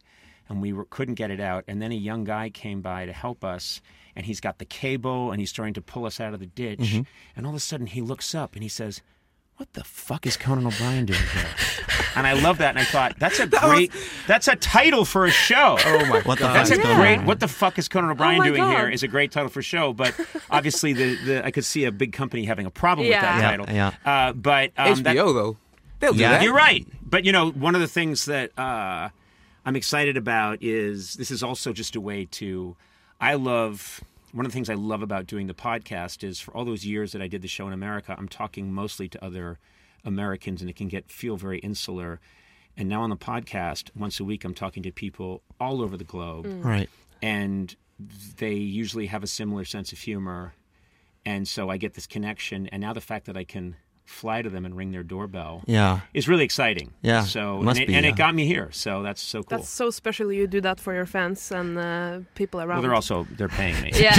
and we were, couldn't get it out. And then a young guy came by to help us, and he's got the cable and he's trying to pull us out of the ditch.
Mhm.
And all of a sudden, he looks up and he says, "What the fuck is Conan O'Brien doing here?" and I love that, and I thought that's a great, that's a title for a show. Oh
my What the God. fuck
that's
is
a
Conan
great.
O'Brien?
What the fuck is Conan O'Brien
Oh my
doing here?
God.
Is a great title for a show, but obviously the, the I could see a big company having a problem with that
Yeah.
title.
Yeah,
Uh, but um, that-
HBO though. They'll do that.
You're right. But you know, one of the things that uh, I'm excited about is this is also just a way to. I love one of the things I love about doing the podcast is for all those years that I did the show in America, I'm talking mostly to other Americans, and it can get feel very insular. And now on the podcast, once a week, I'm talking to people all over the globe,
Mm. Right.
And they usually have a similar sense of humor, and so I get this connection. And now the fact that I can fly to them and ring their doorbell,
Yeah.
it's really exciting.
Yeah,
So
it must
and, it,
be,
and
yeah.
it got me here. So that's so cool.
That's so special. You do that for your fans and uh, people around.
well, they're also they're paying me.
Yeah.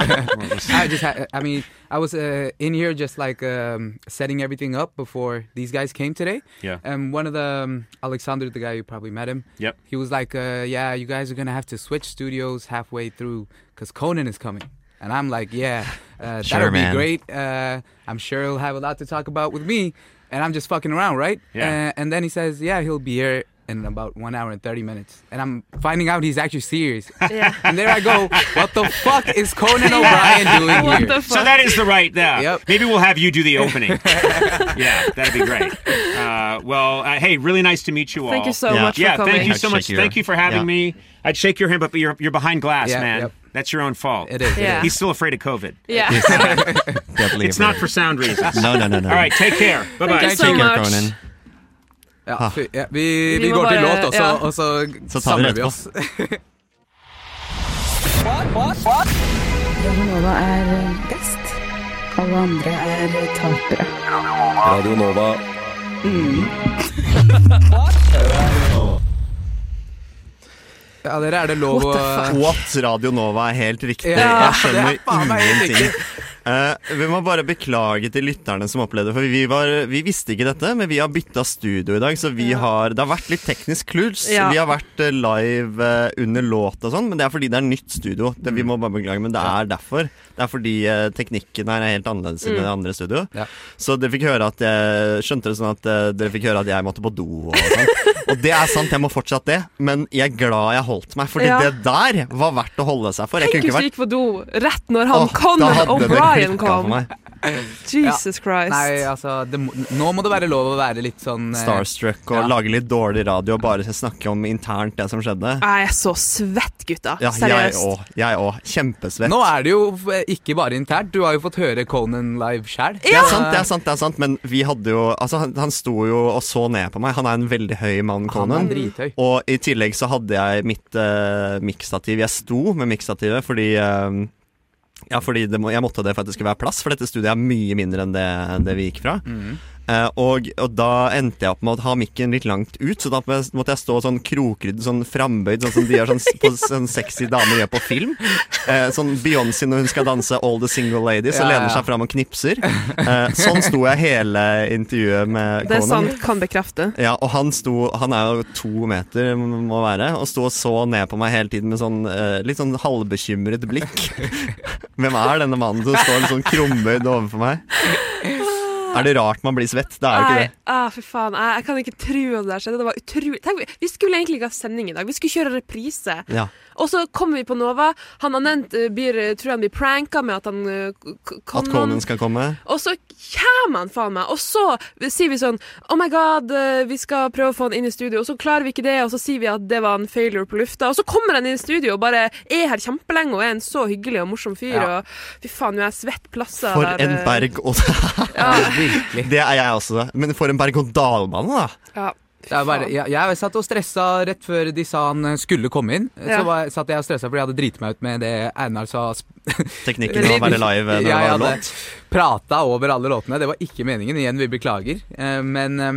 I just, had, I mean, I was uh, in here just like um, setting everything up before these guys came today.
Yeah.
And one of the um, Alexander, the guy you probably met him.
Yep.
He was like, uh, "Yeah, you guys are gonna have to switch studios halfway through because Conan is coming." And I'm like, "Yeah, uh,
Sure,
that'll
man.
be great. Uh, I'm sure he'll have a lot to talk about with me." And I'm just fucking around, right?
Yeah.
Uh, and then he says, "Yeah, he'll be here." In about one hour and thirty minutes, and I'm finding out he's actually serious.
Yeah.
And there I go. What the fuck is Conan O'Brien doing
What
here?
the fuck? So that is the right there. Maybe we'll have you do the opening. yeah, that'd be great. Uh, well, uh, hey, really nice to meet you all.
Thank you so Yeah. much for
Yeah,
coming.
thank you
I'd
so
shake
much.
your-
Thank you for having
yeah.
me. I'd shake your hand, but you're you're behind glass,
Yeah,
man.
yep.
That's your own fault. It
is,
it Yeah. is.
He's still afraid of COVID.
Yeah.
Definitely
it's
agree.
not for sound reasons.
No, no, no, no.
All right, take care. Bye bye.
Thank you Take so care, much. Conan.
Ja, fy, ja, vi,
Vi
vi
må
går til
bare-
låt, og så,
ja.
og så,
Så tar vi
samler
det
vi oss.
Radio Nova er eh, best. Alle andre er eh, tapere.
Mm.
Radio Nova.
Mm.
Ja, dere er det lov å
What Radio Nova er helt riktig.
Ja, det
Jeg
er faen
skjønner
meg helt
ingenting. Eh, vi må bare beklage til lytterne som opplevde det, for vi, var, vi visste ikke dette, men vi har bytta studio i dag, så vi har, det har vært litt teknisk kluls.
Ja.
Vi har vært eh, live eh, under låt og sånn, men det er fordi det er nytt studio. Det,
Mm.
vi må bare beklage, men det er derfor. Det er fordi eh, teknikken her er helt annerledes enn
Mm.
det andre studioet. Så dere fikk høre at jeg skjønte det sånn at eh, dere fikk høre at jeg måtte på do og sånn. Og det er sant, jeg må fortsatt det, men jeg er glad jeg holdt meg, fordi
Ja.
det der var verdt å holde seg for. Jeg
Tenk
kunne
hvis
ikke
du
vært
gikk på do rett når han
Åh, da
Conan
hadde det
O'Brien
klikket for
kom.
meg.
Jesus Christ.
Nei, altså det, må- Nå må det være lov å være litt sånn eh,
starstruck og
Ja.
lage litt dårlig radio og bare snakke om internt det som skjedde.
Jeg er så svett, gutta.
Ja, jeg
Ah, Seriøst.
òg. Jeg òg. Kjempesvett.
Nå er det jo eh, ikke bare internt, du har jo fått høre Conan live sjæl.
Det er sant, det er sant, det er sant, men vi hadde jo Altså, han, han sto jo og så ned på meg. Han er en veldig høy mann,
Han er
Conan.
drithøy.
Og i tillegg så hadde jeg mitt uh, miksstativ. Jeg sto med miksstativet fordi eh, Ja, fordi det må, jeg måtte det for at det skulle være plass, for dette studiet er mye mindre enn det, det vi gikk fra.
Mm.
Eh, og, og da endte jeg opp med å ha mikken litt langt ut, så da måtte jeg stå sånn krokrydd, sånn frambøyd, sånn som de gjør sånn, s- på, sånn sexy damer gjør på film. Eh, sånn Beyoncé når hun skal danse All the Single Ladies
Ja,
og
ja,
lener
ja.
seg fram og knipser. Eh, sånn sto jeg hele intervjuet med
Det er sånn
Conan.
sant. Kan bekrefte.
Ja, og han sto Han er jo to meter, må være, og sto og så ned på meg hele tiden med sånn eh, litt sånn halvbekymret blikk. Hvem er denne mannen som står litt sånn krumbøyd overfor meg? Er det rart man blir svett? Det er jo ikke
Nei,
det.
ah, fy faen. Jeg, jeg kan ikke tro at det der skjedde. Det var utrolig Tenk, vi- Vi skulle egentlig ikke ha sending i dag. Vi skulle kjøre reprise.
Ja.
Og så kommer vi på Nova. Han har nevnt eh, blir, eh, Tror han blir pranka med at han eh, k- k-
At Conan skal komme.
Og så kommer han faen meg, og så sier vi sånn Oh my god, eh, vi skal prøve å få han inn i studio, og så klarer vi ikke det, og så sier vi at det var en failure på lufta, og så kommer han inn i studio og bare er her kjempelenge og er en så hyggelig og morsom fyr,
Ja.
og fy faen, nå er jeg svett plasser.
For
der,
en
eh.
berg- og Det er jeg også, men for en berg-og-dal-bane, da.
Ja.
Det er bare, jeg, jeg satt og stressa rett før de sa han eh, skulle komme inn. Eh,
Ja.
Så var, satt jeg og stressa fordi jeg hadde driti meg ut med det Einar sa.
Teknikken med å være live eh, når det
Jeg
var
hadde
låt.
prata over alle låtene. Det var ikke meningen. Igjen, vi beklager. Eh, Men eh,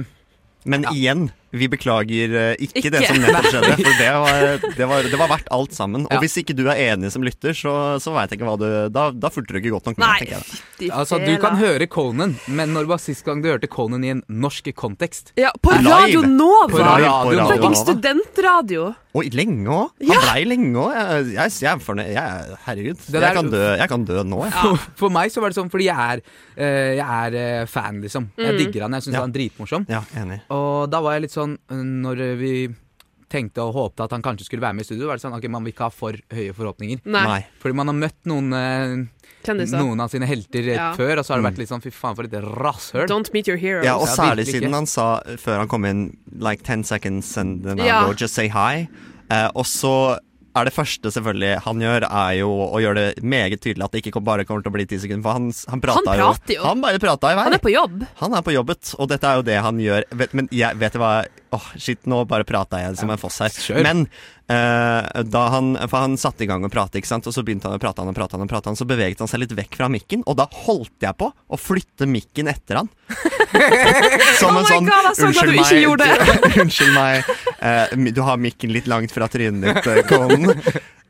Men igjen, vi beklager eh, ikke,
Ikke.
det som nettopp skjedde.
Nei.
For det var, det var, det var verdt alt sammen.
Ja.
Og hvis ikke du er enig som lytter, så, så veit jeg ikke hva du Da, da fulgte du ikke godt nok med, tenker jeg. da.
Altså, du kan høre Conan, men når var sist gang du hørte Conan i en norsk kontekst?
Ja, på
Live.
Radio Nova!
På Radio- på Radio
Fucking
Nova.
studentradio!
Og lenge òg. Han blei lenge òg. Jeg, jeg, jeg er fornøyd. Jeg, herregud.
der-
Jeg kan, dø, jeg kan dø nå, jeg.
For, for meg så var det sånn fordi jeg er, eh, jeg er eh, fan, liksom. Jeg
Mm.
digger han, jeg syns
Ja.
han er dritmorsom.
Ja, enig.
Og da var jeg litt sånn eh, Når vi tenkte og håpte at han kanskje skulle være med i studio, var det sånn ok, man vil ikke ha for høye forhåpninger.
Nei. Nei.
Fordi man har møtt noen eh,
Kjendiser.
Noen av sine helter eh,
Ja.
før, og så har det
Mm.
vært litt sånn fy faen for et rasshøl.
Don't meet your heroes.
Ja, og særlig
virkelig
siden
ikke.
han sa eh, før han kom inn Like 10 seconds and then
Ja.
I'll go just say hi eh, Og så er det første selvfølgelig han gjør Er jo å gjøre det meget tydelig At det ikke kom- bare kommer til å bli 10 sekunder For han, han prater
Han prater jo.
Han bare prater i vei
Han er på jobb.
Han er på jobbet Og dette er jo det han gjør Vet- Men jeg vet du hva Åh, shit, nå bare prater jeg som en foss her Men eh, da han For han satte i gang å prate, ikke sant Og så begynte han å prate han og prate han og prate han Så beveget han seg litt vekk fra mikken Og da holdt jeg på å flytte mikken etter han som
Oh my
en sånn
God, jeg er så glad du ikke gjorde
meg, unnskyld meg eh, mi- Du har mikken litt langt fra trynet ditt, eh, Conan.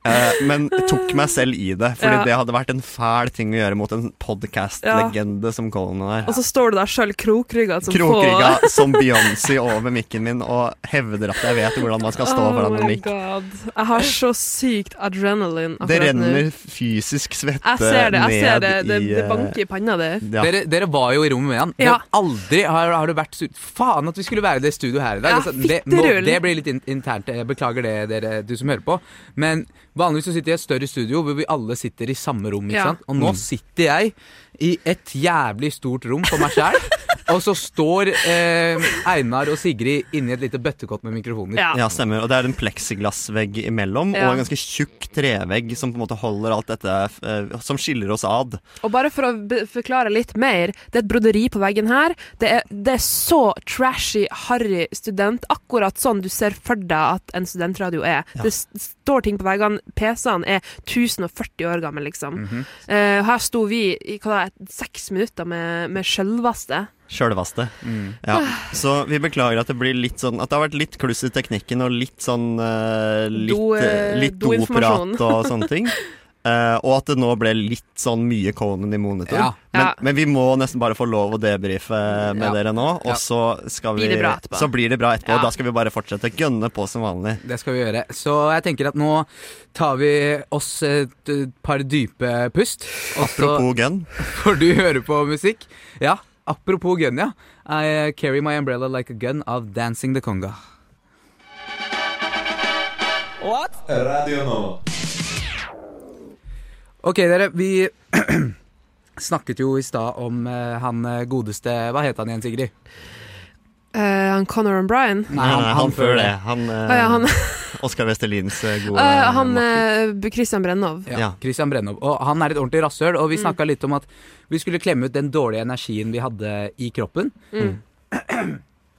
Eh, men tok meg selv i det, Fordi
Ja.
det hadde vært en fæl ting å gjøre mot en podcast-legende som Conan er.
Og så står du der sjøl krokrygga som
Krokrygga
får
som Beyoncé over mikken min og hevder at jeg vet hvordan man skal stå foran en
Oh my
mikk.
god. Jeg har så sykt adrenalin
Det
akkurat nå.
renner fysisk svette
Jeg ser det, jeg ser
ned
det. Det,
i
det
eh,
banker i panna di.
Dere, dere var jo i rommet med han.
Ja.
Men aldri har, har det vært sur- Faen at vi skulle være i det studioet her i dag.
Ja,
Altså, det,
fitterull.
det blir litt in internt. Jeg beklager det, dere, du som hører på. Men vanligvis så sitter jeg i et større studio hvor vi alle sitter i samme rom. Ikke
Ja.
sant? Og nå
Mm.
sitter jeg i et jævlig stort rom for meg sjæl. Og så står eh, Einar og Sigrid inni et lite bøttekott med mikrofoner.
Ja. stemmer. Og det er en pleksiglassvegg imellom,
Ja.
og en ganske tjukk trevegg som på en måte holder alt dette eh, Som skiller oss ad.
Og bare for å be- forklare litt mer, det er et broderi på veggen her. Det er, det er så trashy, harry student. Akkurat sånn du ser for deg at en studentradio er.
Ja.
Det s- står ting på veggene. PC-ene er 1040 år gamle, liksom.
Mhm.
Eh, her sto vi i hva da, et- seks minutter med, med sjølveste.
Sjølvaste. Ja. Så vi beklager at det blir litt sånn At det har vært litt kluss i teknikken og litt sånn eh, Litt,
Do, eh,
eh, litt
doinformasjon.
doprat og sånne ting. Eh, og at det nå ble litt sånn mye Conan i monitor.
Ja.
Men,
Ja.
men vi må nesten bare få lov å debrife med
Ja.
dere nå, og
Ja.
så skal vi
Blir det bra etterpå.
Så blir det bra etterpå.
Ja.
Da skal vi bare fortsette å gønne på som vanlig.
Det skal vi gjøre. Så jeg tenker at nå tar vi oss et par dype pust. og så
Apropos gun.
Får du høre på musikk? Ja, apropos gun, ja. I uh, carry my umbrella like a gun av Dancing the Conga.
What?
Radio Nova.
Ok, dere, vi snakket jo i stad om eh, han eh, godeste Hva het han igjen, Sigrid?
Eh, han Conor O'Brien?
Nei, han, Eh, han, før det. Han, eh,
Å ja, han-
Oskar Vestelins eh,
Eh,
gode
han eh, Christian Brennov.
Ja, Christian Brennov. Og han er et ordentlig rasshøl, og vi snakka litt om at vi skulle klemme ut den dårlige energien vi hadde i kroppen.
Mm.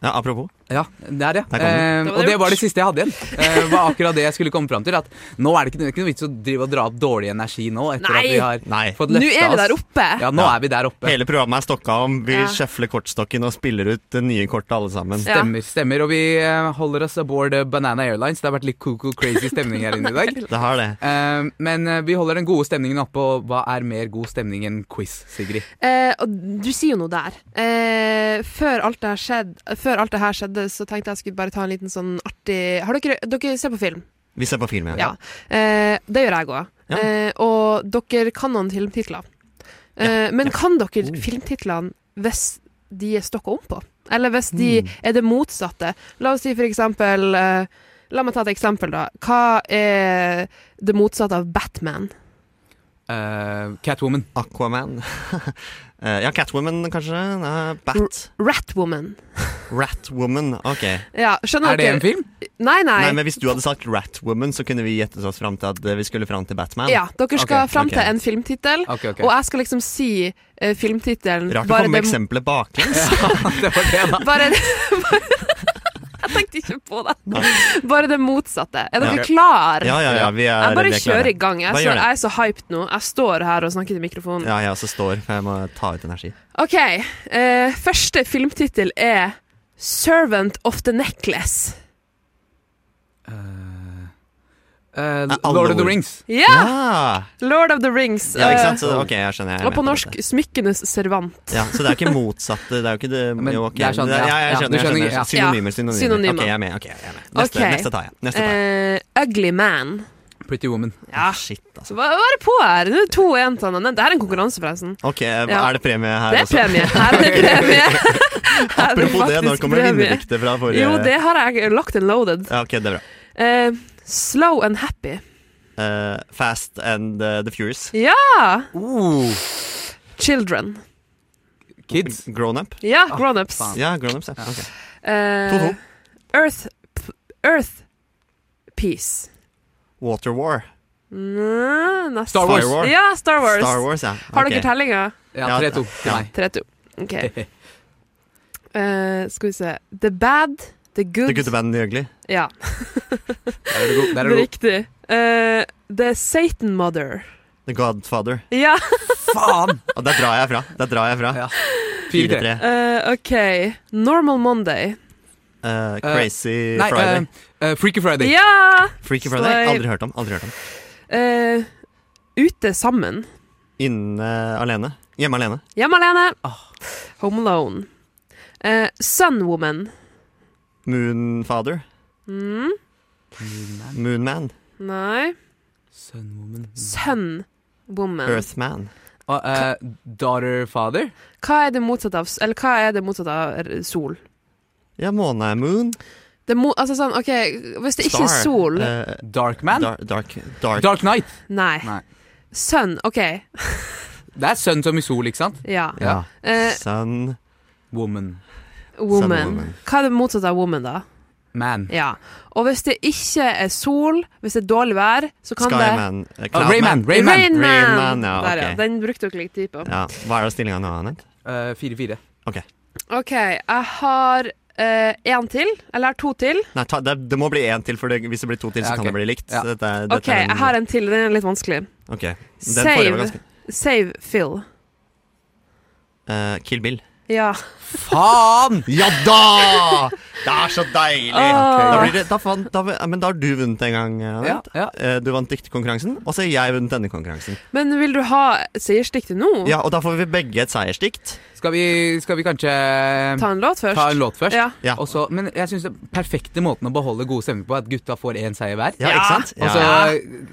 Ja, apropos.
Ja, der, ja.
kom
Eh,
den. Da var
og
det
det var det
gjort.
siste jeg hadde igjen. Eh, var akkurat det jeg skulle komme fram til. At nå er det ikke, det er ikke noe vits å drive og dra opp dårlig energi nå, etter
Nei.
at vi har fått
Nå
løfta oss.
er vi der oppe!
Ja, nå er vi der oppe.
Hele programmet er stokka om. Vi
Ja.
sjefler kortstokken og spiller ut det nye kortet alle sammen.
Stemmer, stemmer. Og vi eh, holder oss aboard eh, Banana Airlines. Det har vært litt coco crazy stemning her inne i dag.
Det har det.
Eh, men eh, vi holder den gode stemningen oppe, og hva er mer god stemning enn quiz, Sigrid?
Eh, og du sier jo noe der. Eh, før, alt det her skjedde, før alt det her skjedde, så tenkte jeg skulle bare ta en liten sånn artig Har dere, dere ser på film?
Vi ser på film, ja.
Ja. Eh, det gjør jeg òg.
Ja.
Eh, og dere kan noen filmtitler. Eh, men kan dere
Oh.
filmtitlene hvis de er stokka om på? Eller hvis de
Hmm.
Mm.
er det motsatte? La oss si for eksempel eh, La meg ta et eksempel, da. Hva er det motsatte av Batman?
Eh, Catwoman.
Aquaman. Eh, ja, Catwoman, kanskje? Nei, Bat.
R Ratwoman.
Ratwoman. Ok.
Ja, skjønner
Er det
dere?
en film?
Nei, nei.
Nei, men Hvis du hadde sagt Ratwoman, så kunne vi gjettet oss fram til at eh, vi skulle fram til Batman.
Ja, dere skal
Ok,
fram
ok.
til en filmtittel,
Ok, ok.
og jeg skal liksom si uh, filmtittelen
Rart å
bare
komme med
det-
eksempelet baklengs.
Bare det Jeg tenkte ikke på det. Bare det motsatte. Er dere
Ja.
klar?
Ja, ja, ja, vi er-
jeg bare
vi er klare.
kjører i gang. Jeg,
Bare
er
gjør
så,
det.
jeg er så hyped nå. Jeg står her og snakker til mikrofonen.
Ja, jeg også står, for jeg må ta ut energi.
OK. eh, første filmtittel er 'Servant of the Necklace'.
Eh, Lord of the Rings.
Ja! Lord of the Rings.
Ja, ikke sant?
eh,
Så, ok, jeg skjønner. Jeg
og på
vet.
norsk 'Smykkenes servant'.
Ja, så det er ikke motsatte Det er jo ikke det
Men
jo, ok.
det er sånn, ja.
ja, jeg
Ja, du
skjønner. Jeg
skjønner,
skjønner.
ja.
Synonymer,
Ja,
synonymer.
synonymer.
Ok, jeg er med. ok, jeg er med. Neste,
Ok.
neste tar jeg. Neste tar jeg.
Eh, ugly Man.
Pretty Woman.
Eh, Ja.
Shit, altså.
Hva hva er det på her? Det er to og en til hverandre. Det her er en konkurranse, forresten.
Ok,
Ja.
er det premie her
Det er
også?
premie. Her er det premie. Her er
Apropos det, når
faktisk
kommer det
premie.
vinnerryktet fra forrige
Jo, det har jeg locked and loaded.
Ja, ok, det er bra.
Eh, slow and happy.
Eh, fast and eh, the Furious.
Ja! Children.
Kids.
Grown up.
Ja, grown-ups.
Ja, grown ups, ja. ok.
Eh,
To-to.
Earth, p- Earth Peace.
Water War.
Nei, nesten.
Star Wars. Firewall.
Ja, Star Wars.
Star Wars, ja.
Har
Ok.
dere tellinga?
Ja, 3-2 til
ja.
meg.
3-2. OK. Eh, skal vi se The Bad, The Good
The Good Band The Ugly.
Ja.
Der er du god. Der er du god.
Riktig. Eh, the Satan Mother.
The Godfather.
Ja.
Faen!
Og der drar jeg fra. Der drar jeg fra. Fire-tre.
Eh, OK. Normal Monday.
Eh, crazy
Eh, nei,
Friday.
eh, eh, Freaky Friday.
Ja!
Freaky Friday.
Slay.
Aldri hørt om. Aldri hørt om.
Eh, ute sammen.
Inne alene. Hjemme alene.
Hjemme alene. Home Alone. Eh, Sunwoman.
Moonfather.
Mm.
Moonman.
Nei.
Sunwoman.
Sunwoman.
Earthman.
Og, eh, daughter Father.
Hva er det motsatte av s- Eller hva er det motsatte av r- sol?
Ja, måne er moon.
Det mo altså sånn, OK, hvis det ikke er
Star.
sol
Eh,
Darkman?
Dar dark, dark.
Dark Knight.
Nei.
Nei.
Sun. OK.
Det er sønn som i sol, ikke sant?
Ja.
Ja.
Eh,
Sun
Woman.
woman.
Sunwoman.
Hva er det motsatte av woman, da?
Man.
Ja. Og hvis det ikke er sol, hvis det er dårlig vær, så kan det
Skyman. eh, Cloudman.
Ah, Rayman, Rayman.
Rain Man.
Rain Man, ja,
Der, ja.
ok.
Den brukte dere litt tid på.
Ja, Hva er det stillinga nå, Anette?
Fire-fire.
Ok.
OK, jeg har eh, én til. Eller jeg har to til.
Nei, ta, det, det må bli én til, for det, hvis det blir to til, så
Ja, ok.
kan det bli likt. Så Dette, er- dette
OK, jeg har en til. Den er litt vanskelig.
Ok. Den forrige var
Save,
ganske
save Phil.
Eh, Kill Bill.
Ja.
Faen! Ja da! Det er så
Åh.
deilig! Da blir det, da fan, da, men da har du vunnet en gang. Anette.
Ja,
Eh, Du vant diktkonkurransen, og så har jeg vunnet denne konkurransen.
Men vil du ha seiersdiktet nå?
Ja, Og da får vi begge et seiersdikt.
Skal vi, skal vi kanskje eh,
Ta en låt først.
Ta en låt først.
Ja.
Og så- men jeg syns den perfekte måten å beholde god stemning på er at gutta får én seier hver.
Ja, ikke sant?
Og
Ja.
så Altså,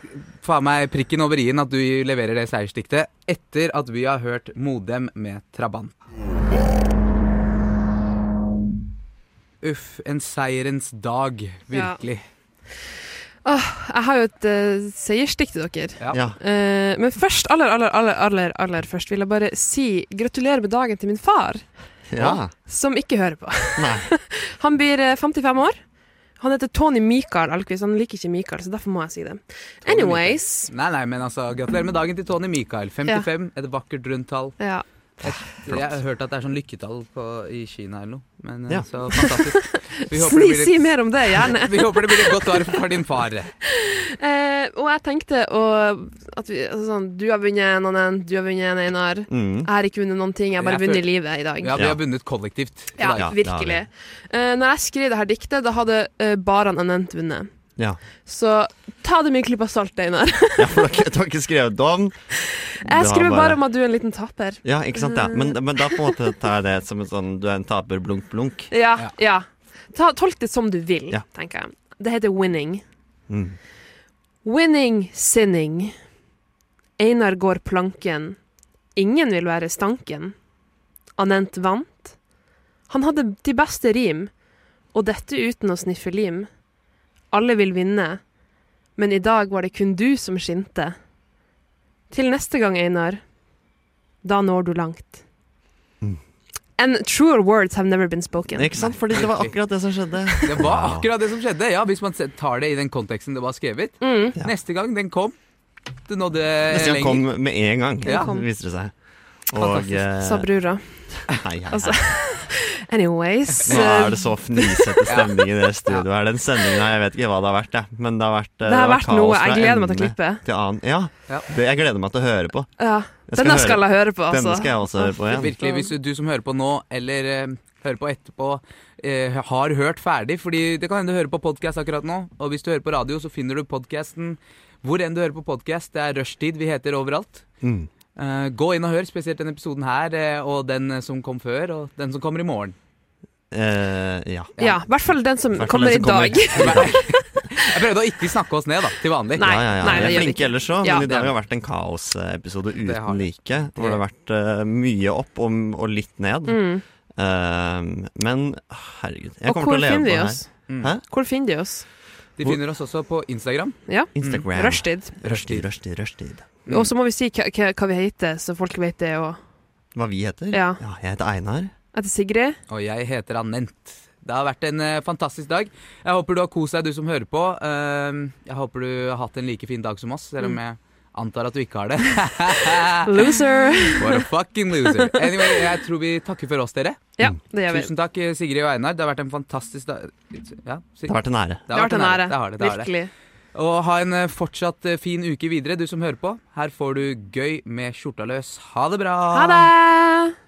faen meg prikken over i-en at du leverer det seiersdiktet etter at vi har hørt Modem med Trabant. Uff, en seierens dag, virkelig.
Åh, jeg har jo et uh, seiersdikt til dere.
Ja.
Eh, men først, aller, aller, aller, aller, aller først vil jeg bare si gratulerer med dagen til min far.
Ja.
Som ikke hører på. han blir eh, 55 år. Han heter Tony Michael Alquist. Han liker ikke Michael, så derfor må jeg si det. Anyways.
Nei, nei, men altså, gratulerer med dagen til Tony Michael. 55, et vakkert rundt tall.
Ja.
Et,
Flott.
jeg har hørt at det er sånn lykketall på, i Kina eller noe, men eh,
Ja.
så fantastisk. Vi håper
Sni,
det blir et-
si mer om det, gjerne.
Vi håper det blir et godt år for din far.
Eh, og jeg tenkte å, at vi, altså sånn, du har vunnet en annen, du har vunnet en Einar.
Mm.
Jeg har ikke vunnet noen ting, jeg har bare
Jeg
vunnet
føler-
livet i dag.
Ja, vi har vunnet kollektivt. i
Ja,
dag.
virkelig. Eh, når jeg skrev det her diktet, da hadde eh, bare han nevnt vunnet.
Ja.
Så ta det med en klype salt, Einar.
ja for dere, dere har ikke skrevet om.
Jeg skriver bare om at du er en liten taper.
Ja, ikke sant. Ja. Men, men da på en måte tar jeg det som en sånn du er en taper, blunk, blunk.
Ja, ja. Ta, tolk det som du vil,
Ja.
tenker jeg. Det heter winning.
Mm.
Winning sinning. Einar går planken. Ingen vil være stanken. Anent vant. Han hadde de beste rim, og dette uten å sniffe lim. Alle vil vinne, men i dag var det kun du som skinte. Til neste gang, Einar. Da når du langt.
Mm.
And truer words have never been spoken.
Ikke sant? Fordi det var akkurat det som skjedde.
Det var akkurat det som skjedde, ja, hvis man se- tar det i den konteksten det var skrevet.
Mm.
Ja.
Neste gang den kom, du nådde eh,
Neste gang
lenger.
kom med en gang,
Ja.
viste det seg.
Fantastisk.
eh,
Sa brura.
Hei, hei,
Altså,
hei.
anyways. eh,
Nå er det så fnisete stemning i det studioet her. Den sendingen her, jeg vet ikke hva det har vært, jeg. Men det har vært, eh,
Det har vært
kaos
noe.
fra
Jeg gleder meg til å
ende
klippe.
Til annen. Ja,
Ja.
Det, jeg gleder meg til å høre på.
Ja,
Jeg
denne skal jeg høre på, altså.
Denne skal jeg også høre på igjen.
Virkelig, hvis du, du som hører på nå, eller eh, hører på etterpå, eh, har hørt ferdig. Fordi det kan hende du hører på podkast akkurat nå, og hvis du hører på radio, så finner du podkasten hvor enn du hører på podkast. Det er rushtid, vi heter overalt.
Mm.
Eh, gå inn og hør, spesielt denne episoden her, eh, og den eh, som kom før, og den som kommer i morgen.
Eh, ja.
Ja, i hvert fall den som
hvert fall
kommer i
den som
dag.
Jeg prøvde å ikke snakke oss ned, da, til vanlig.
Nei,
ja, ja, ja.
nei, det
vi er
gjør vi
flinke
ikke.
ellers òg,
Ja.
men i dag har det vært en kaosepisode
Det har
uten
det.
like. Hvor det har vært eh, mye opp og, og litt ned.
Mm.
Eh, men herregud, jeg
Og
kommer
hvor
til å leve
finner
på
de
det her.
oss? Hvor finner de oss?
Mm. De finner oss også på Instagram.
Ja.
Instagram.
Mm. Rushtid.
Rushtid, rushtid, rushtid.
Og så må vi si hva, hva hva vi heter, så folk vet det òg.
Hva vi heter?
Ja.
jeg heter Einar.
Jeg heter Sigrid.
Og jeg heter Anent. Det har vært en eh, fantastisk dag. Jeg håper du har kost deg, du som hører på. Ehm, jeg håper du har hatt en like fin dag som oss, selv om
Mm.
jeg antar at du ikke har det.
Loser.
What a fucking loser. Anyway, jeg tror vi takker for oss, dere.
Ja, det gjør vi.
Tusen takk, eh, Sigrid og Einar. Det har vært en fantastisk dag. Ja, Sig-
Det har vært en ære.
Det har vært en ære.
Det har det, det har det.
Virkelig.
Og ha en eh, fortsatt eh, fin uke videre, du som hører på. Her får du gøy med skjorta løs. Ha det bra.
Ha det!